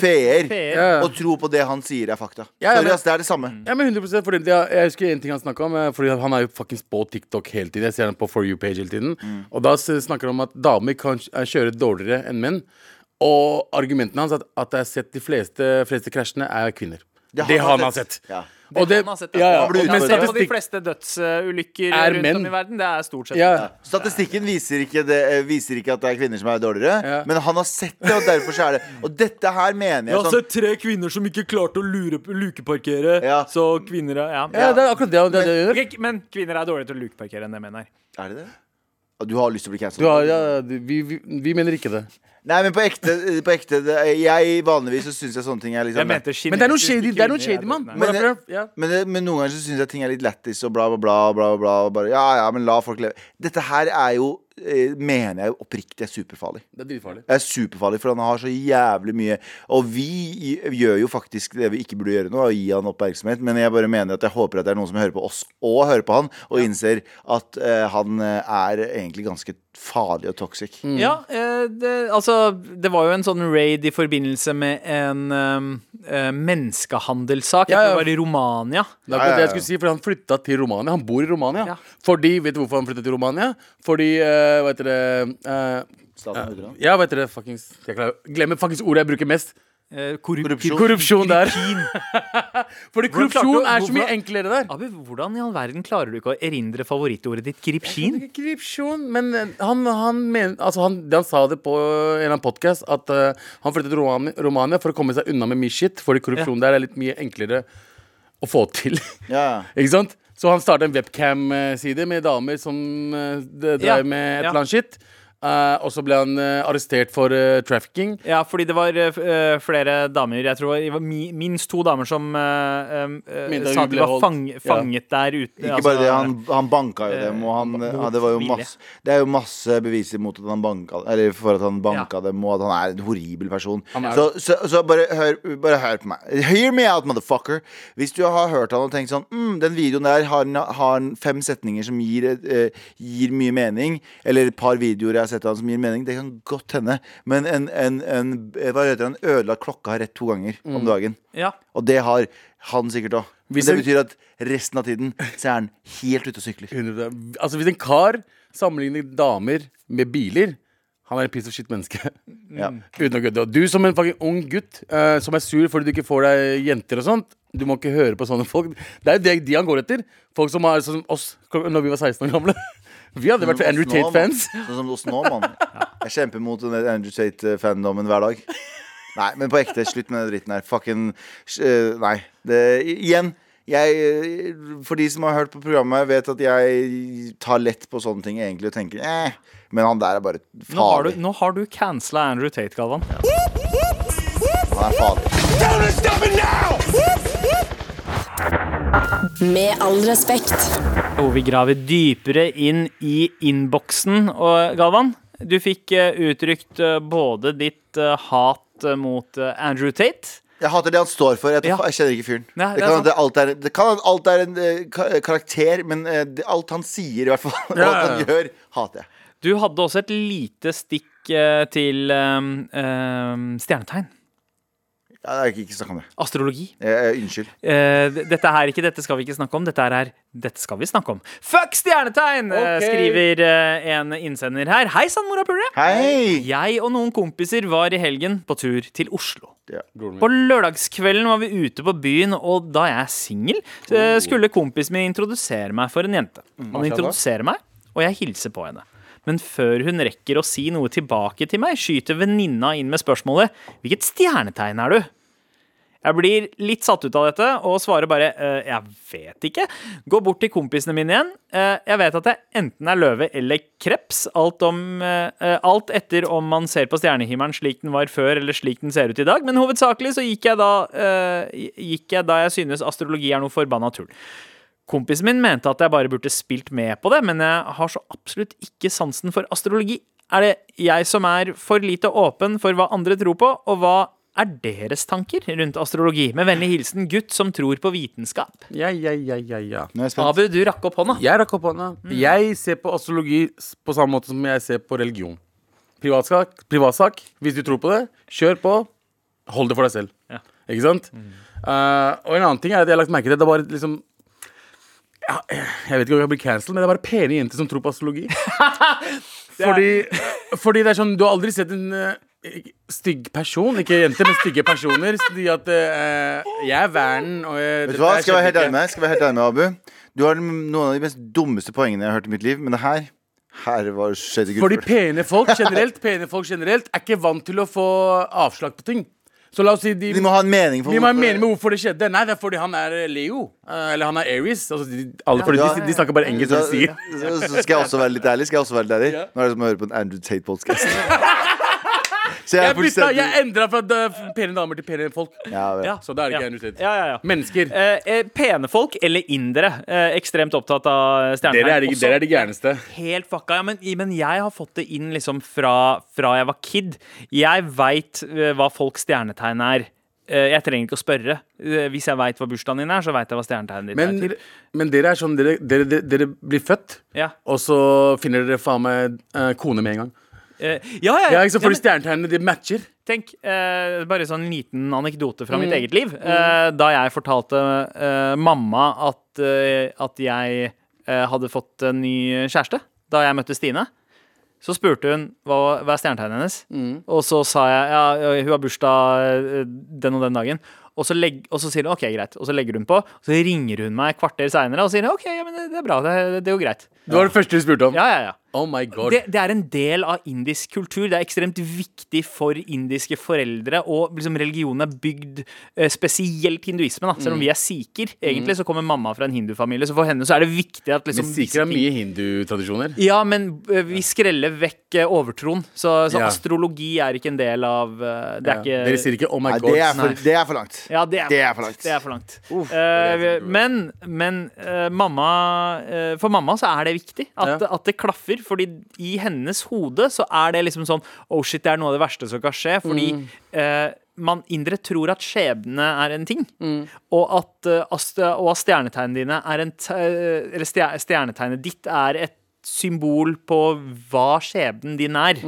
B: Feer.
D: Ja.
B: Og tro på det han sier er fakta.
D: Ja, ja,
B: Sorry,
D: men-
B: ass, det er det samme.
D: Ja, men 100 fordi jeg, jeg husker en ting han snakka om. eh, Fordi Han er jo fuckings på TikTok hele tiden. Jeg ser han på For you-page hele tiden. Og da s- snakker han om at damer kan kj- eh, kjøre dårligere enn menn. Og argumentene hans at, at jeg har sett de fleste, fleste krasjene, er kvinner. Det, han har sett.
B: Ja.
D: Og
C: han
D: det,
C: har sett, ja.
D: ja, ja.
B: Han blir
D: Og, men
B: utfordret.
C: Se på de
D: statistikk
C: fleste dødsulykker
D: Er
C: rundt
D: menn.
C: om i verden. Det er stort sett
D: ja.
B: Statistikken viser ikke, det, eh, viser ikke at det er kvinner som er dårligere,
D: Ja.
B: men han har sett det, og derfor så er det Og dette her mener jeg sånn
C: tre kvinner som ikke klarte å lukeparkere,
B: Ja.
C: så kvinner er ja.
D: ja, det er akkurat det han det, det gjør.
C: Ok, Men kvinner er dårlige til å lukeparkere enn det menn er.
B: Er det det? Ah, Du har lyst til å bli cancelled?
D: Du har, ja, du- vi, vi, vi mener ikke det.
B: Nei, men på ekte, på ekte det, jeg vanligvis så syns jeg sånne ting er liksom
C: Jeg mente kinesiske
D: Men det er noe shady, det er noe
C: kvinner,
D: shady mann.
C: nei.
B: Men det-
D: Ja.
B: Men, det, men noen ganger så syns jeg ting er litt lættis og bla, bla, bla. bla, bla og bare, ja, ja, men la folk leve. Dette her er jo, eh, mener jeg jo oppriktig, er superfarlig.
D: Det er dritfarlig.
B: Det er superfarlig, for han har så jævlig mye Og vi i- gjør jo faktisk det vi ikke burde gjøre nå, å gi han oppmerksomhet, men jeg bare mener at jeg håper at det er noen som hører på oss og hører på han, og innser at eh, han eh, er egentlig ganske farlig og toxic.
C: Ja, eh, det, altså Det var jo en sånn raid i forbindelse med en eh, eh, menneskehandelssak. Jeg tror
D: Ja, ja.
C: det var i Romania.
D: Det
B: Ja,
D: er
B: ja,
D: akkurat
B: ja.
D: det jeg skulle si, for han flytta til Romania. Han bor i Romania.
C: Ja.
D: Fordi, Vet du hvorfor han flytta til Romania? Fordi, eh, hva heter det eh,
B: Staten hører han.
D: Ja, hva heter det? Fuckings, jeg klarer, glemmer fuckings ordet jeg bruker mest.
C: eh, korrup-
B: Korrupsjon.
D: Korrupsjon der.
C: Krypin.
D: Fordi
C: Hvordan klarte
D: korrupsjon
C: du-
D: er så mye
C: hvorfor-
D: enklere der.
C: Abu, hvordan i all verden klarer du ikke å erindre favorittordet ditt gripskin?
D: Korrupsjon, men eh, han, han, men, altså han, han sa det på en eller annen podkast at eh, han flyttet til Romani- Romania for å komme seg unna med mye shit, fordi korrupsjon der er litt mye enklere å få til.
B: Ja.
D: Ikke sant? Så han startet en webcam-side med damer som eh, d-
C: Ja,
D: drev med et
C: ja.
D: eller annet shit. Eh, og så ble han eh, arrestert for eh, trafficking.
C: Ja, fordi det var eh, f- eh, flere damer Jeg tror det var mi, minst to damer som eh, em, eh,
D: Mente
C: sa
D: hun
C: at de
D: ble
C: var
D: holdt.
C: fang,
D: Ja.
C: fanget der ute.
B: Ikke
C: altså,
B: bare det, han, han banka jo dem, og han,
C: eh,
B: ja, det, var jo
C: motvilje.
B: masse, det er jo masse beviser mot at han banka Eller for at han banka dem, og at han er en horribel person.
D: er
B: Så, så, så bare, hør, bare hør på meg. Hear me out, motherfucker. Hvis du har hørt han og tenkt sånn mm, Den videoen der har, en- har en fem setninger som gir, et, eh, gir mye mening, eller et par videoer jeg har sett av han som gir mening, det kan godt hende. Men en, en, en, eh, hva heter det, en ødelagt klokke har rett to ganger om dagen.
C: Ja.
B: Og det har han sikkert òg. Men
D: Hvis
B: det
D: jeg-
B: betyr at resten av tiden så er han helt ute og sykler.
D: 100%. Altså Hvis en kar sammenligner damer med biler han er en piece of shit menneske. Mm.
B: Ja.
D: Uten å kødde. Og du som en fucking ung gutt eh, som er sur fordi du ikke får deg jenter og sånt. Du må ikke høre på sånne folk. Det er jo det de han går etter. Folk som er sånn som oss når vi var 16 år gamle. Vi hadde vært Andrew
B: Sånn som oss nå, mann.
D: Tate-fans.
B: Sånn som oss nå, mann. Jeg kjemper mot den der Andrew Tate-fandommen hver dag. Nei, men på ekte, slutt med den dritten her. Fucking eh, Nei. Det, igjen. Jeg, eh, for de som har hørt på programmet, vet at jeg tar lett på sånne ting egentlig og tenker eh, Men han der er bare
C: Nå har du,
B: farlig.
C: nå har du cancela Andrew Tate, Galvan.
B: Han er farlig.
E: Med all respekt.
C: Hvor vi graver dypere inn i innboksen. Og Galvan, du fikk eh, uttrykt eh, både ditt eh, hat eh, mot eh, Andrew Tate
B: Jeg hater det han står for. Jeg,
C: Ja.
B: jeg kjenner ikke fyren.
C: Nei,
B: det,
C: det er
B: kan
C: sant.
B: at det, alt er, det kan at alt er en eh, ka- karakter, men eh, det, alt han sier, i hvert fall, og alt
D: Ja, ja,
B: han
D: ja.
B: gjør, hater jeg.
C: Du hadde også et lite stikk eh, til eh, eh, stjernetegn.
B: Ja, jeg har ikke snakka om det.
C: Astrologi.
B: Eh, eh, unnskyld.
C: Eh, d- dette her ikke, dette skal vi ikke snakke om. Dette her er Dette skal vi snakke om. Fuck stjernetegn! eh,
D: Ok.
C: skriver eh, en innsender her. Hei sann, morapulere!
B: Hei!
C: Jeg og noen kompiser var i helgen på tur til Oslo.
B: Ja.
C: På lørdagskvelden var vi ute på byen, og da jeg er singel, eh, skulle kompisen min introdusere meg for en jente. Han introduserer meg, og jeg hilser på henne. Men før hun rekker å si noe tilbake til meg, skyter venninna inn med spørsmålet 'Hvilket stjernetegn er du?' Jeg blir litt satt ut av dette og svarer bare «Eh, 'jeg vet ikke'. Går bort til kompisene mine igjen. Eh, jeg vet at jeg enten er løve eller kreps. Alt, om, eh, eh, alt etter om man ser på stjernehimmelen slik den var før eller slik den ser ut i dag. Men hovedsakelig så gikk jeg da, eh, gikk jeg, da jeg synes astrologi er noe forbanna tull. Kompisen min mente at jeg bare burde spilt med på det, men jeg har så absolutt ikke sansen for astrologi. Er det jeg som er for lite åpen for hva andre tror på, og hva er deres tanker rundt astrologi? Med vennlig hilsen gutt som tror på vitenskap.
D: Ja, ja, ja, ja, ja.
B: Nå er jeg spent.
C: Abu, du rakk opp hånda.
D: Jeg rakk opp hånda. Jeg ser på astrologi s- på samme måte som jeg ser på religion. Privatsak, privatsak. Hvis du tror på det, kjør på. Hold det for deg selv.
C: Ja.
D: Ikke sant? Eh, og en annen ting er at jeg har lagt merke til at det er bare liksom ja, Jeg vet ikke om jeg blir cancelled, men det er bare pene jenter som tror på astrologi. fordi, fordi det er sånn Du har aldri sett en eh, stygg person. Ikke jenter, men stygge personer. Fordi at eh, Jeg er verden, og jeg,
B: Vet
D: dette
B: du hva?
D: er
B: Skal jeg være helt
D: kjempe-
B: ærlig med deg? Skal jeg være helt ærlig med deg, Abu? Du har noen av de mest dummeste poengene jeg har hørt i mitt liv, men det her Her var skjedde
D: Fordi
B: gullfugl.
D: pene folk generelt Pene folk generelt er ikke vant til å få avslag på ting. Så la oss si de,
B: De må ha en mening for
D: de må ha en
B: hvorfor-
D: mening med hvorfor det skjedde. Nei, det er fordi han er Leo. eh, Eller han er Aries. Altså, de, alle, fordi
B: Ja, ja,
D: de, de snakker bare engelsk.
B: Så,
D: når de sier
B: så- så skal jeg også være litt ærlig. Skal jeg også være litt ærlig? Nå er det som å høre på en Andrew Tate-podkast. Så jeg er
D: Jeg, bytta,
B: fullstendig
D: jeg endra fra eh, pene damer til pene folk.
B: Ja, vel.
C: Ja.
D: Så da er det
C: Ja.
D: ikke Andrew Tate.
C: Ja, ja, ja.
D: Mennesker.
C: Eh, eh, pene folk eller indere. Eh, ekstremt opptatt av stjernetegn.
D: Dere er, de,
C: Også
D: dere er de gærneste.
C: Helt fucka. Ja, men, men jeg har fått det inn liksom fra, fra jeg var kid. Jeg veit hva folks stjernetegn er. Eh, jeg trenger ikke å spørre. Eh, hvis jeg veit hva bursdagen din er, så veit jeg hva stjernetegnet ditt
D: Men,
C: er. til.
D: men dere er sånn Dere, dere, dere, dere blir født,
C: Ja.
D: og så finner dere faen meg eh, kone med en gang.
C: Eh, ja, ja,
D: Ja,
C: ja.
D: ikke sant?
C: ja
D: Fordi
C: men,
D: stjernetegnene de matcher.
C: tenk, eh, bare sånn liten anekdote fra mitt eget liv. Eh, da jeg fortalte eh, mamma at, eh, at jeg eh, hadde fått en ny kjæreste da jeg møtte Stine, Så spurte hun hva, hva er stjernetegnet hennes, og så sa jeg ja, hun har bursdag eh, den og den dagen. Og så, legg, og så sier hun OK, greit. Og så legger hun på. Og så ringer hun meg et kvarter seinere og sier OK, ja, men det, det er bra. Det, det er jo greit.
D: Det var det første du spurte om.
C: Ja, ja, ja.
D: Oh my god.
C: Det, det er en del av indisk kultur. Det er ekstremt viktig for indiske foreldre. Og liksom religionen er bygd eh, spesielt hinduismen. Da. Selv
D: Mm.
C: om vi er sikher, egentlig, så kommer mamma fra en hindufamilie. Så for henne så er det viktig at liksom
D: Men sikher er
C: disse ting-
D: mye hindutradisjoner.
C: Ja, men eh, vi skreller vekk eh, overtroen. Så, så
D: Ja.
C: astrologi er ikke en del av eh, Det er
D: Dere
C: ikke
D: sier ikke 'oh my
B: Nei,
D: god'.
B: det er for, det er for langt.
C: ja, det er,
B: Det er for langt.
C: Det er for langt.
B: Uff.
C: Eh,
D: Det er for
C: men men eh, mamma eh, For mamma så er det viktig at, at det klaffer. Fordi i hennes hode så er det liksom sånn Oh shit, det er noe av det verste som kan skje. Fordi eh, man indre tror at skjebne er en ting, og at, eh, ast- og at stjernetegnene dine er en t eh, Eller stjer- stjernetegnet ditt er et symbol på hva skjebnen din er.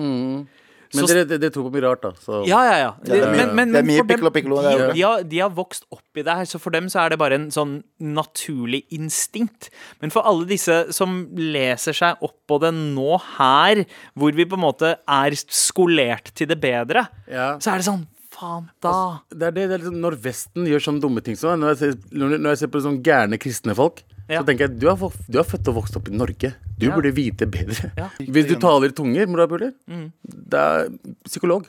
D: Men
C: Så-
D: dere, dere, dere tror på mye rart, da. Så.
C: Ja, ja, ja.
B: det er mye- det er mye
C: for dem-
B: piccolo, piccolo der
C: De,
B: oppe.
C: de, har, de har vokst opp i det her, så for dem så er det bare en sånn naturlig instinkt. Men for alle disse som leser seg opp på det nå her, hvor vi på en måte er skolert til det bedre,
D: Ja.
C: så er det sånn Faen, da.
D: Det er det, det er liksom, når Vesten gjør sånne dumme ting som det, når, jeg ser- når når jeg ser på sånne gærne kristne folk,
C: Ja.
D: så tenker jeg du er, vok- du er født og vokst opp i Norge. Du
C: Ja.
D: burde vite bedre.
C: Ja. Mm.
D: Hvis du taler i tunger, morapuler, det er psykolog.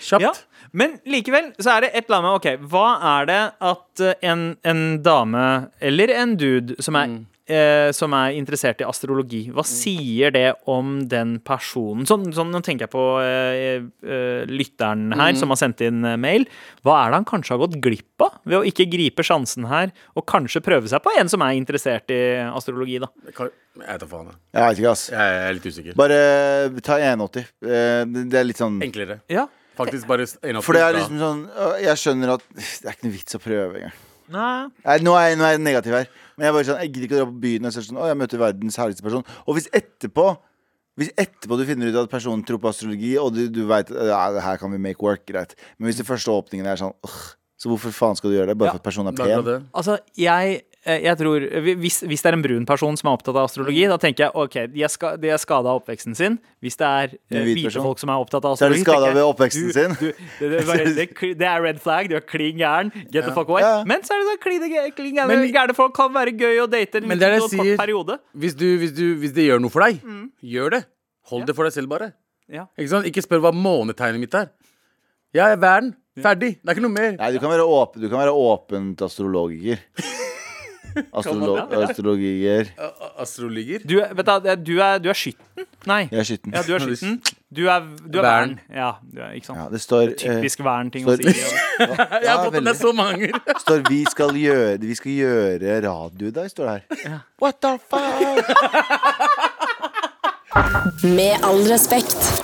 D: Kjapt.
C: Ja, men likevel så er det et eller annet med Ok, hva er det at eh, en, en dame eller en dude som er, eh, som er interessert i astrologi, hva sier det om den personen? Sånn, sånn nå tenker jeg på eh, eh, lytteren her som har sendt inn eh, mail. Hva er det han kanskje har gått glipp av ved å ikke gripe sjansen her, og kanskje prøve seg på en som er interessert i astrologi, da?
D: Jeg kan- jeg vet da faen. jeg.
B: Jeg vet ikke, ass.
D: Jeg er litt usikker.
B: Bare eh, ta 1,80. Eh, det- Det er litt sånn
D: Enklere.
C: Ja.
D: Faktisk bare s- en opp-
B: For det er
D: bra.
B: liksom sånn øh, Jeg skjønner at det er ikke noe vits å prøve engang.
C: Nei.
B: Nei, Nå er jeg, nå er jeg negativ her. Men jeg bare sånn, jeg gidder ikke å dra på byen og så er det sånn, å, jeg møter verdens herligste person. Og hvis etterpå hvis etterpå du finner ut at personen tror på astrologi, og du, du veit at her kan vi make work, greit. Men hvis den første åpningen er sånn «Åh, Så hvorfor faen skal du gjøre det? Bare
C: Ja.
B: for at personen er
D: Det er
B: pen?
D: bra det.
C: Altså, jeg, eh, jeg tror hvis, hvis det er en brun person som er opptatt av astrologi, da tenker jeg OK, de er, ska, de er skada av oppveksten sin. Hvis det er eh,
B: En hvit
C: hvite
B: person.
C: folk som er opptatt av
B: Så er de
C: astrologi
B: skada
C: tenker
B: ved
C: jeg,
B: oppveksten
C: du-
B: sin?
C: du- det, det, er bare- det, er kli- det er red flag, du er klin gæren. Get the fuck away.
B: Ja.
C: Men så er det sånn klin gæ- klin gærne
D: Men-
C: gærne folk kan være gøy å date en
D: Men det er det
C: liten kort
D: jeg sier.
C: periode.
D: Hvis, du, hvis, du, hvis det gjør noe for deg,
C: Mm.
D: gjør det. Hold det for deg selv, bare.
C: Ja.
D: Ikke, sant? ikke spør hva månetegnet mitt er. Jeg er verden. Ferdig. Det er ikke noe mer.
B: Nei, du kan være, åpen, du kan være åpent astrologiker. Astrolo astrologiker.
D: Astrologer.
C: Du, er- vet du, hva, du, er, du er skytten? Nei.
B: Jeg er skitten.
C: Ja, du er skytten. Du er, du er vern.
D: Vern.
C: Ja, du er, ikke sant.
B: Ja, det står eh,
C: Typisk vern-ting å
B: står-
C: si.
D: Jeg har
B: Ja,
D: fått den der
B: veldig.
D: så mange ganger.
B: står vi skal gjøre, vi skal gjøre radio i dag, står det her. What the fuck?
E: Med all respekt.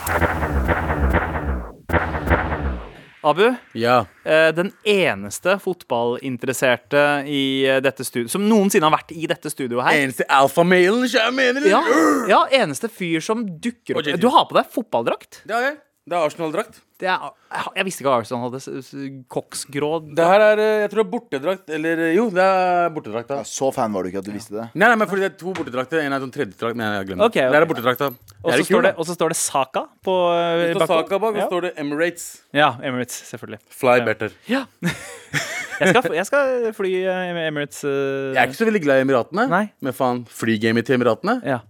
C: Abu,
D: Ja.
C: Eh, den eneste fotballinteresserte i eh, dette studio, som noensinne har vært i dette studioet her.
D: Eneste alfamalen jeg mener.
C: Ja,
D: Ja.
C: ja, eneste fyr som dukker opp.
D: Og JT.
C: Du har på deg fotballdrakt.
D: Det har jeg. Det er Arsenal-drakt.
C: Det er, jeg visste ikke at Arsenal hadde s- s- koksgrå
D: Det her er eh, jeg tror det er bortedrakt. Eller eh, jo, det er bortedrakt. da.
B: Ja, Så fan var du ikke at du visste det.
D: Nei, nei, men fordi det er to bortedrakter. En er sånn tredjedrakt. Nei, jeg glemmer
C: Ok, ok.
D: det. Der er bortedrakta.
C: Og så står, det- og så står det Saka på eh,
D: står Saka bak, og
C: Ja.
D: så står det Emirates.
C: Ja, Emirates, selvfølgelig.
D: Fly better.
C: Ja. jeg, skal, jeg skal fly eh, Emirates eh,
D: Jeg er ikke så veldig glad i Emiratene,
C: Nei.
D: men faen, flygamet til Emiratene
C: ja.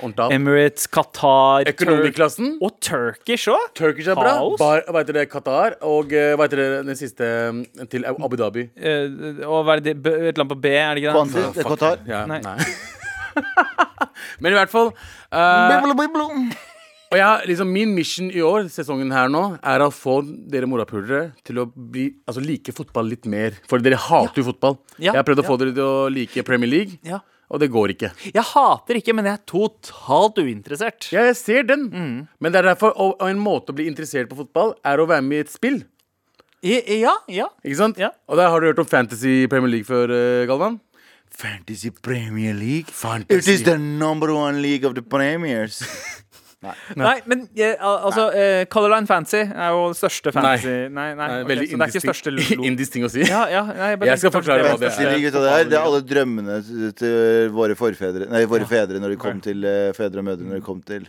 D: Ordentlig.
C: Emirates, Qatar Tur-
D: Økonomiklassen.
C: Og Turkish òg!
D: Turkish er bra.
C: Kaos.
D: Bar, hva heter det, Qatar. Og eh, hva heter det, den siste eh, til Abu Dhabi.
C: Eh, og hva er det, B- et land på B, er det ikke det?
B: Kvanti, det er Qatar.
D: Ja,
C: Nei.
D: nei. Men i hvert fall eh,
B: Blum, blum, blum.
D: Og jeg, har liksom Min mission i år, sesongen her nå, er å få dere morapulere til å bli, altså, like fotball litt mer. For dere hater jo fotball.
C: Ja.
D: Jeg har prøvd å
C: Ja.
D: få dere til å like Premier League,
C: Ja.
D: og det går ikke.
C: Jeg hater ikke, men jeg er totalt uinteressert.
D: Ja, jeg ser den.
C: Mm.
D: Men det er derfor, og, og en måte å bli interessert på fotball er å være med i et spill.
C: I- Ja, ja.
D: Ikke sant?
C: Ja.
D: Og der har du hørt om Fantasy Premier League før, eh, Galvan?
B: Fantasy Premier League.
D: Fantasy.
B: It is the number one league of the premiers.
C: Nei, men eh, al- altså, eh, Color Line Fancy er jo den største fancy Nei, nei,
D: Nei,
C: ok,
D: veldig
C: så det er ikke
D: indisk
C: største
D: ting-
C: lo-
D: indisk ting å si.
C: Ja, ja, nei, bare
D: Jeg skal
C: tenkte
D: forklare
C: kanskje
D: hva det
B: Fantasy league, vet du, det er, det er alle drømmene til- til våre forfedre Nei, våre fedre når de kom til eh, fedre og mødre når de kom til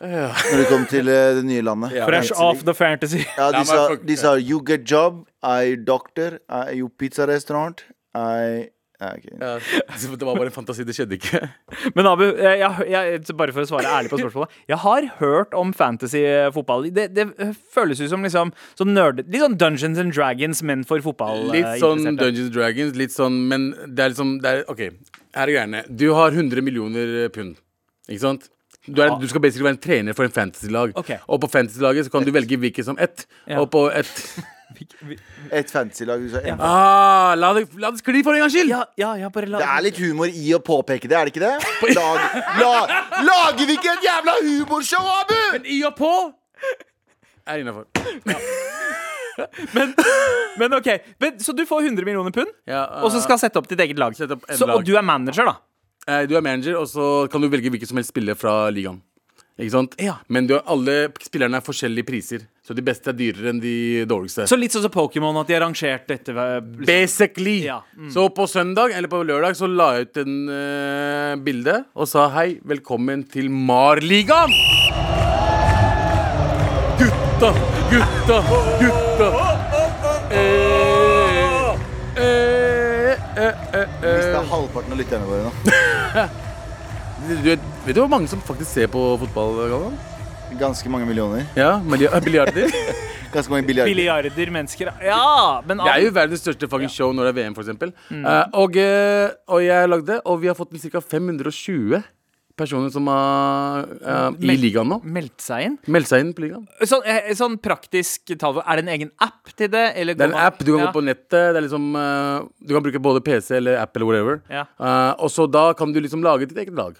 B: Når du kom til eh, det nye landet. Ja,
C: Fresh off the fantasy.
B: de,
D: meg
B: sa,
D: fuck-
B: de sa you get job, I doctor, I you pizza restaurant, I ja, ok.
D: Ja, så det var bare en fantasi, det skjedde ikke.
C: Men Abu, eh, jeg, jeg, bare for å svare ærlig på spørsmålet. Jeg har hørt om fantasy-fotball. Det, det føles ut som liksom sånn nerd, litt sånn Dungeons and Dragons, men for fotball. eh,
D: Litt sånn
C: interesserte.
D: Dungeons and Dragons, litt sånn, men det er liksom det er, OK, her er greiene. Du har 100 millioner eh, pund, ikke sant? Du, er, du skal basically være en trener for en fantasy-lag.
C: Ok.
D: Og på fantasy-laget så kan du velge hvilket som ett.
C: Ja.
D: Og på ett
B: Et fancy lag. Du sa, en-
D: ah, La det, la det skli for en gangs skyld!
C: Ja, ja, ja, bare la
B: Det er litt humor i å påpeke det, er det ikke det? Lag, la, lager vi ikke et jævla humorshow, Abu?!
D: Men i og på er innafor.
C: Men ok, men, Så du får 100 millioner pund,
D: Ja,
C: og så skal sette opp ditt eget lag.
D: Sette opp et
C: så, og
D: lag.
C: du er manager, da.
D: Eh, Du er manager, og så kan du velge hvilken som helst spiller fra ligaen. Ikke sant?
C: Ja.
D: Men du, har- alle spillerne er forskjellige priser, så de beste er dyrere enn de dårligste.
C: Så litt sånn som Pokémon, at de har rangert dette ved- liksom.
D: Basically.
C: Ja, mm.
D: Så på søndag, eller på lørdag, så la jeg ut en eh, bilde og sa hei, velkommen til Marligaen! Gutta, gutta, gutta. Eh, eh, eh, eh,
B: Vi
D: eh.
B: mister halvparten av lytterne våre nå.
D: Du vet, vet du hvor mange som faktisk ser på fotball? Galvan?
B: Ganske mange millioner.
D: Ja, milli- biljarder. Det
B: Ganske mange billiarder.
C: milliarder mennesker. Ja, men
D: er jo verdens største fucking show når det er VM, for eksempel.
C: Mm.
D: Eh, og, eh, og jeg lagde, og vi har fått ca. 520 personer som er eh, i
C: Mel-
D: ligaen nå.
C: Meldt seg inn?
D: Meld seg inn på ligaen.
C: Sånn, eh, sånn praktisk tall, er det en egen app til det? Eller
D: Det er en app. Du kan
C: ja.
D: gå på nettet. Det er liksom, eh, du kan bruke både PC eller app eller whatever.
C: Ja.
D: Eh, og så da kan du liksom lage ditt eget lag.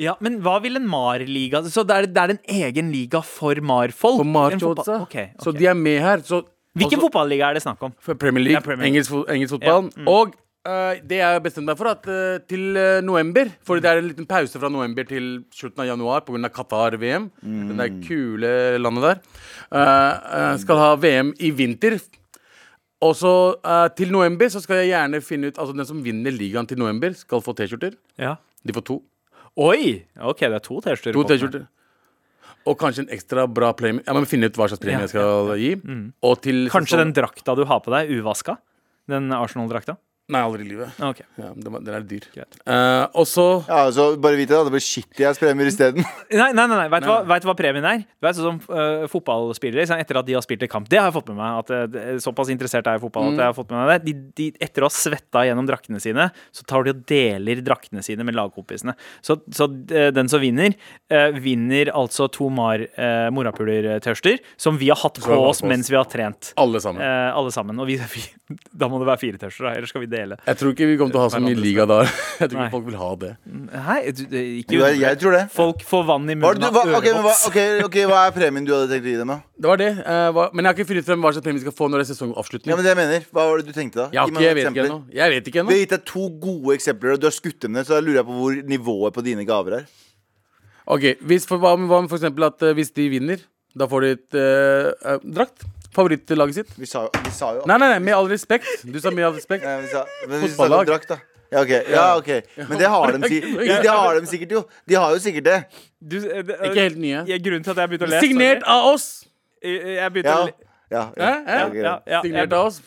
C: Ja, men hva vil en MAR-liga Så det er, det er en egen liga for MAR-folk?
D: På March
C: En fotball-
D: også.
C: ok, ok.
D: altså. Så de er med her. Så,
C: Hvilken
D: også-
C: fotballiga er det snakk om?
D: For Premier League,
C: Ja, Mm. Premier League.
D: Engelsk, fo- engelsk fotball. Og eh, det jeg har bestemt meg for, at eh, til eh, november For det er en liten pause fra november til slutten av januar pga. Qatar-VM. Den der kule landet der. eh, eh, skal ha VM i vinter. Og så eh, til november så skal jeg gjerne finne ut Altså den som vinner ligaen til november, skal få T-skjorter.
C: Ja.
D: De får to.
C: Oi! OK, det er to T-skjorter.
D: To
C: på.
D: T-skjorter. Og kanskje en ekstra bra premie. Jeg må finne ut hva slags premie
C: Ja.
D: jeg skal gi. Og til
C: Mm. Kanskje
D: sesongen-
C: den drakta du har på deg, uvaska? Den Arsenal-drakta?
D: Nei, aldri i livet.
C: Ok.
D: Ja, den, var- den er dyr.
C: Greit.
D: Eh, og så
B: Ja, så bare vit det, da. Det blir shitty ass premier isteden.
C: Nei, nei, nei, nei. Vet, du Hva,
D: Nei.
C: vet du hva premien er? Du vet sånn som eh, fotballspillere sånn, Etter at de har spilt en kamp Det har jeg fått med meg at, eh, det- Såpass interessert er jeg i fotball At jeg har fått med meg det de, de, Etter å ha svettet gjennom draktene sine Så tar de og deler draktene sine med lagkompisene Så, så eh, den som vinner eh, Vinner altså to mar uh, morapuler-tørster Som vi har hatt
D: vi
C: på
D: har
C: oss
D: på oss.
C: mens vi har trent
D: Alle sammen.
C: eh, Alle sammen Og vi, vi, da må det være fire tørster da Ellers skal vi dele
D: Jeg tror ikke vi kommer til å ha så mye
C: Hverandre.
D: liga da. Jeg tror
C: Nei.
D: ikke folk vil ha det.
C: Nei, du, du- ikke
B: Jo, jeg- jeg tror det.
C: Folk får vann i
B: Hva, er
C: munnen
B: det du,
C: av
B: hva, ok, men hva,
C: ørevoks.
B: ok, ok, hva er premien du hadde tenkt å gi dem, da?
D: Det var det. eh, hva- men jeg har ikke funnet frem hva slags premie vi skal få når det er sesongavslutning.
B: Ja, men det jeg mener, Hva var det du tenkte da?
D: jeg, har
B: Gi meg
D: ikke, jeg
B: noen
D: vet ikke
B: eksempler.
D: ennå. Jeg vet ikke
B: Vi har
D: ennå.
B: gitt deg to gode eksempler, og du har skutt dem ned, så da lurer jeg på hvor nivået på dine gaver er.
D: Ok, hvis, for, hva, med- hva med for eksempel at eh, hvis de vinner, da får de et eh, eh, drakt? Favorittlaget sitt?
B: Vi sa jo, vi sa jo
D: Nei, nei, nei, med all respekt. Du sa med all respekt.
B: Nei, vi sa, men hvis vi snakker
D: Fotballag.
B: om drakt, da. Ja, ok. Ja, ok Men det har de, si det har de sikkert, jo. De har jo sikkert det.
C: Du, eh, det-
D: Ikke helt nye.
C: Ja, grunnen til at jeg begynte å lese
D: Signert av oss!
C: Jeg jeg begynte
B: Ja.
C: å le
B: Ja, ja,
D: Hæ? Hæ?
B: ok,
C: ja,
B: greit.
C: ja,
D: Signert
C: jeg-
D: av oss.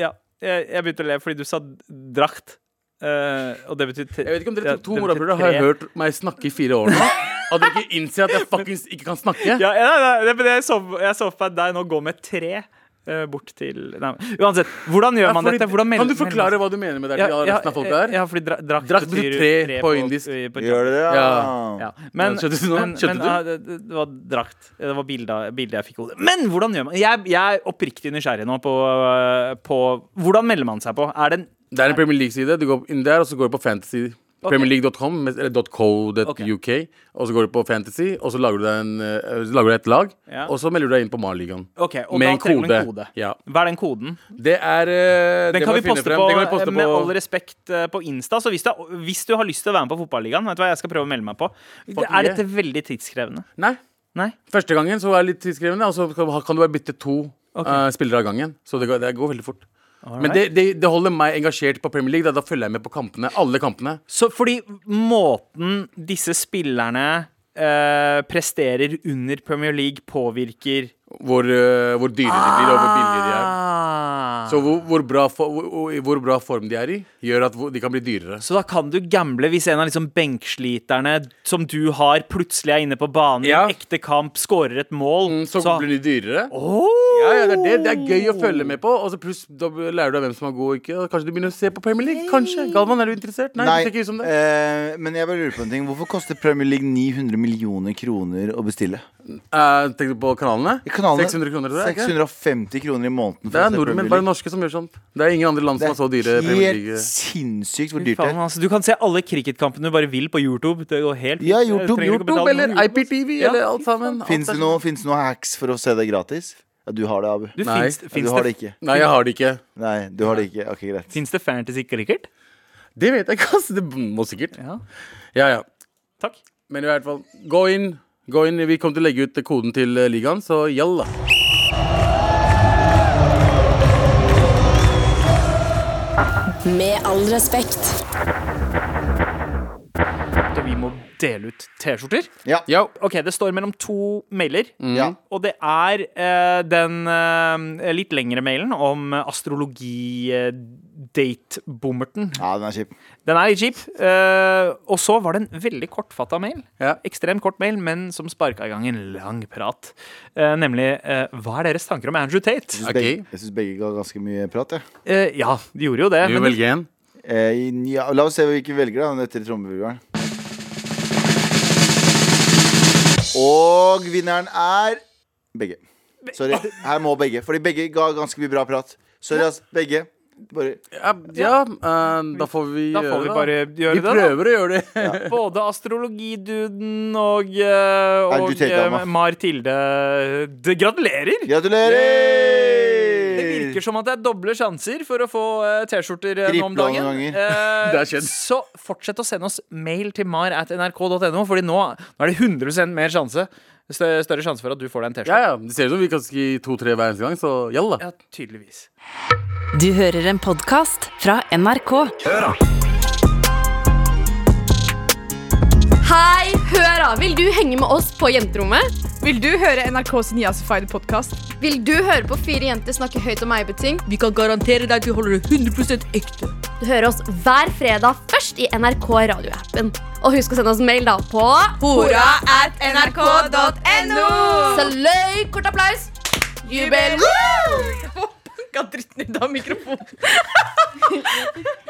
C: ja. Jeg jeg begynte å le fordi du sa drakt. eh, og det betyr
D: Jeg vet ikke om dere tok to morapuler har hørt meg snakke i fire år nå. At dere ikke innser at jeg fuckings ikke kan snakke.
C: Ja, ja, nei, nei, men jeg så jeg så for meg deg nå gå med tre eh, bort til nei, men Uansett, hvordan gjør
D: Ja,
C: man
D: fordi- eh,
C: dette? Hvordan
D: Kan du forklare hva du mener med det? til resten av folket her?
C: Ja, fordi dra, drakt,
D: Drakt betyr tre på indisk.
B: Gjør dere det?
D: Ja.
B: Ja.
C: Ja. Men,
D: Ja, skjønte du nå?
C: men, men
D: Skjønte du?
C: ja, det, det det var drakt. Det var bildet, bildet jeg fikk i hodet. Men hvordan gjør man Jeg, jeg er oppriktig nysgjerrig nå på, øh, på Hvordan melder man seg på? Er det en
D: Det er en Premier League-side. Du går inn der, og så går du på fantasy. Premierleague.com, eller .co.uk, og så går du på fantasy, og så lager du deg, en, eh, så lager du deg et lag,
C: Ja.
D: og så melder du deg inn på Marligaen.
C: Ok, og
D: Med
C: da
D: en
C: trenger du en
D: kode.
C: kode.
D: Ja.
C: Hva er den koden?
D: Det er
C: Den
D: eh, det
C: kan
D: må
C: vi
D: jeg finne
C: poste,
D: frem.
C: på, eh,
D: Den kan vi poste
C: med
D: på
C: all respekt eh, på Insta. Så hvis du, har- hvis du har lyst til å være med på fotballigaen, vet du hva jeg skal prøve å melde meg på.
D: Fuck
C: er
D: yeah.
C: dette veldig tidskrevende?
D: Nei.
C: Nei?
D: Første gangen så er det litt tidskrevende, og så kan- kan du bare bytte to
C: Ok.
D: eh, spillere av gangen. Så det går, det går veldig fort. Men det, det, det holder meg engasjert på Premier League. Da, da følger jeg med på kampene. Alle kampene.
C: Så fordi måten disse spillerne eh, presterer under Premier League, påvirker
D: Hvor, eh, hvor dyre de blir, og hvor billige de er.
C: Ah.
D: Så hvor, hvor, bra for, hvor, hvor bra form de er i, gjør at hvor- de kan bli dyrere.
C: Så da kan du gamble hvis en av liksom benksliterne som du har, plutselig er inne på banen i
D: Ja.
C: en ekte kamp, skårer et mål.
D: Mm, Så
C: så-
D: blir de dyrere.
C: Åh!
D: Ja, ja, det, er det. det er gøy å følge med på. Og så pluss da lærer du deg hvem som er god og ikke. Og kanskje du begynner å se på Premier League. Kanskje. Galvan, er du interessert? Nei, det ser ikke ut som det.
B: eh, men jeg bare lurer på en ting. Hvorfor koster Premier League 900 millioner kroner å bestille?
D: Eh, tenker du på kanalene?
B: I kanalene-
D: 600 kroner, tror jeg. ikke?
B: 650 kroner i måneden. for
D: Det
B: å
D: er
B: se
D: nordmenn,
B: Premier
D: bare
B: League.
D: norske som gjør sånt. Det er ingen andre land som har så dyre Premier
B: Det er
D: League.
B: helt sinnssykt hvor
C: Fy
B: dyrt det
C: Faen,
B: er.
C: altså, du kan se alle cricketkampene du bare vil på YouTube. Det går helt
B: Ja,
C: fint. Jeg
B: YouTube,
C: trenger ikke å
D: YouTube
C: betale
D: eller
C: noe.
D: IPTV
C: Ja,
D: eller alt sammen.
B: Fins det noe- finnes det noe hacks for å se det gratis? Ja, du har det, Abu.
C: Du,
D: Nei.
C: finnes,
B: Ja,
C: finnes
B: du har
C: det,
B: det ikke.
D: Nei, jeg har det ikke.
B: Nei, du har det ikke. Ok, greit.
C: Fins det fantasy cricket?
D: Det vet jeg ikke, ass. Det må sikkert.
C: Ja.
D: Ja, ja.
C: Takk.
D: Men i hvert fall, gå inn. Gå inn. Vi kommer til å legge ut koden til eh, ligaen, så jalla.
E: Med all respekt.
C: Og vi må dele ut T-skjorter.
B: Ja.
D: Yo.
C: Ok, Det står mellom to mailer.
D: Mm.
B: Ja.
C: Og det er eh, den eh, litt lengre mailen om eh, astrologi-date-bommerten.
B: ja, den er kjip.
C: Den er litt kjip. eh, og så var det en veldig kortfatta mail.
D: Ja.
C: Ekstremt kort mail, men som sparka i gang en lang prat. Eh, nemlig eh, Hva er deres tanker om Andrew Tate?
B: Jeg syns
D: Ok.
B: begge, jeg synes begge ga ganske mye prat, jeg.
C: Eh, ja, de gjorde jo det.
D: Du
C: men-
D: velger en.
B: Eh, ja, la oss se hvilke vi velger, da, etter trommevirvelen. Og vinneren er begge. Sorry. Her må begge. Fordi begge ga ganske mye bra prat. Sorry, ass. Begge. Bare
D: Ja, ja eh, da får vi
C: da får vi
D: gjøre det,
C: bare gjøre
D: Vi
C: det, da.
D: prøver å gjøre det.
C: Både astrologiduden og, eh, og
B: Tate-dama.
C: eh, Mar-Tilde Det- Gratulerer!
B: Gratulerer!
C: Det virker som at det er doble sjanser for å få eh, T-skjorter eh, nå om
B: Triple
C: dagen.
B: omganger.
C: Eh,
D: Det har skjedd.
C: så fortsett å sende oss mail til mar at nrk.no, Fordi nå, nå er det 100 mer sjanse stø- større sjanse for at du får deg en
D: Ja,
C: T-skjorte.
D: ja. Det ser ut som vi kan gi to-tre hver eneste gang, så jalla.
C: Ja, tydeligvis.
A: Du hører en podkast fra NRK.
F: Hei, høra!
G: Vil du henge med oss på jenterommet?
F: Vil du høre NRK sin Jazzified podkast?
G: Vil du høre på fire jenter snakke høyt om eiebeting?
F: Vi kan garantere deg at vi holder det 100 ekte.
G: Du hører oss hver fredag først i NRK radioappen. Og husk å sende oss mail da på
F: Hora at nrk.no.
G: Saløy! Kort applaus! Jubel!
F: Hva dritten ut av mikrofonen?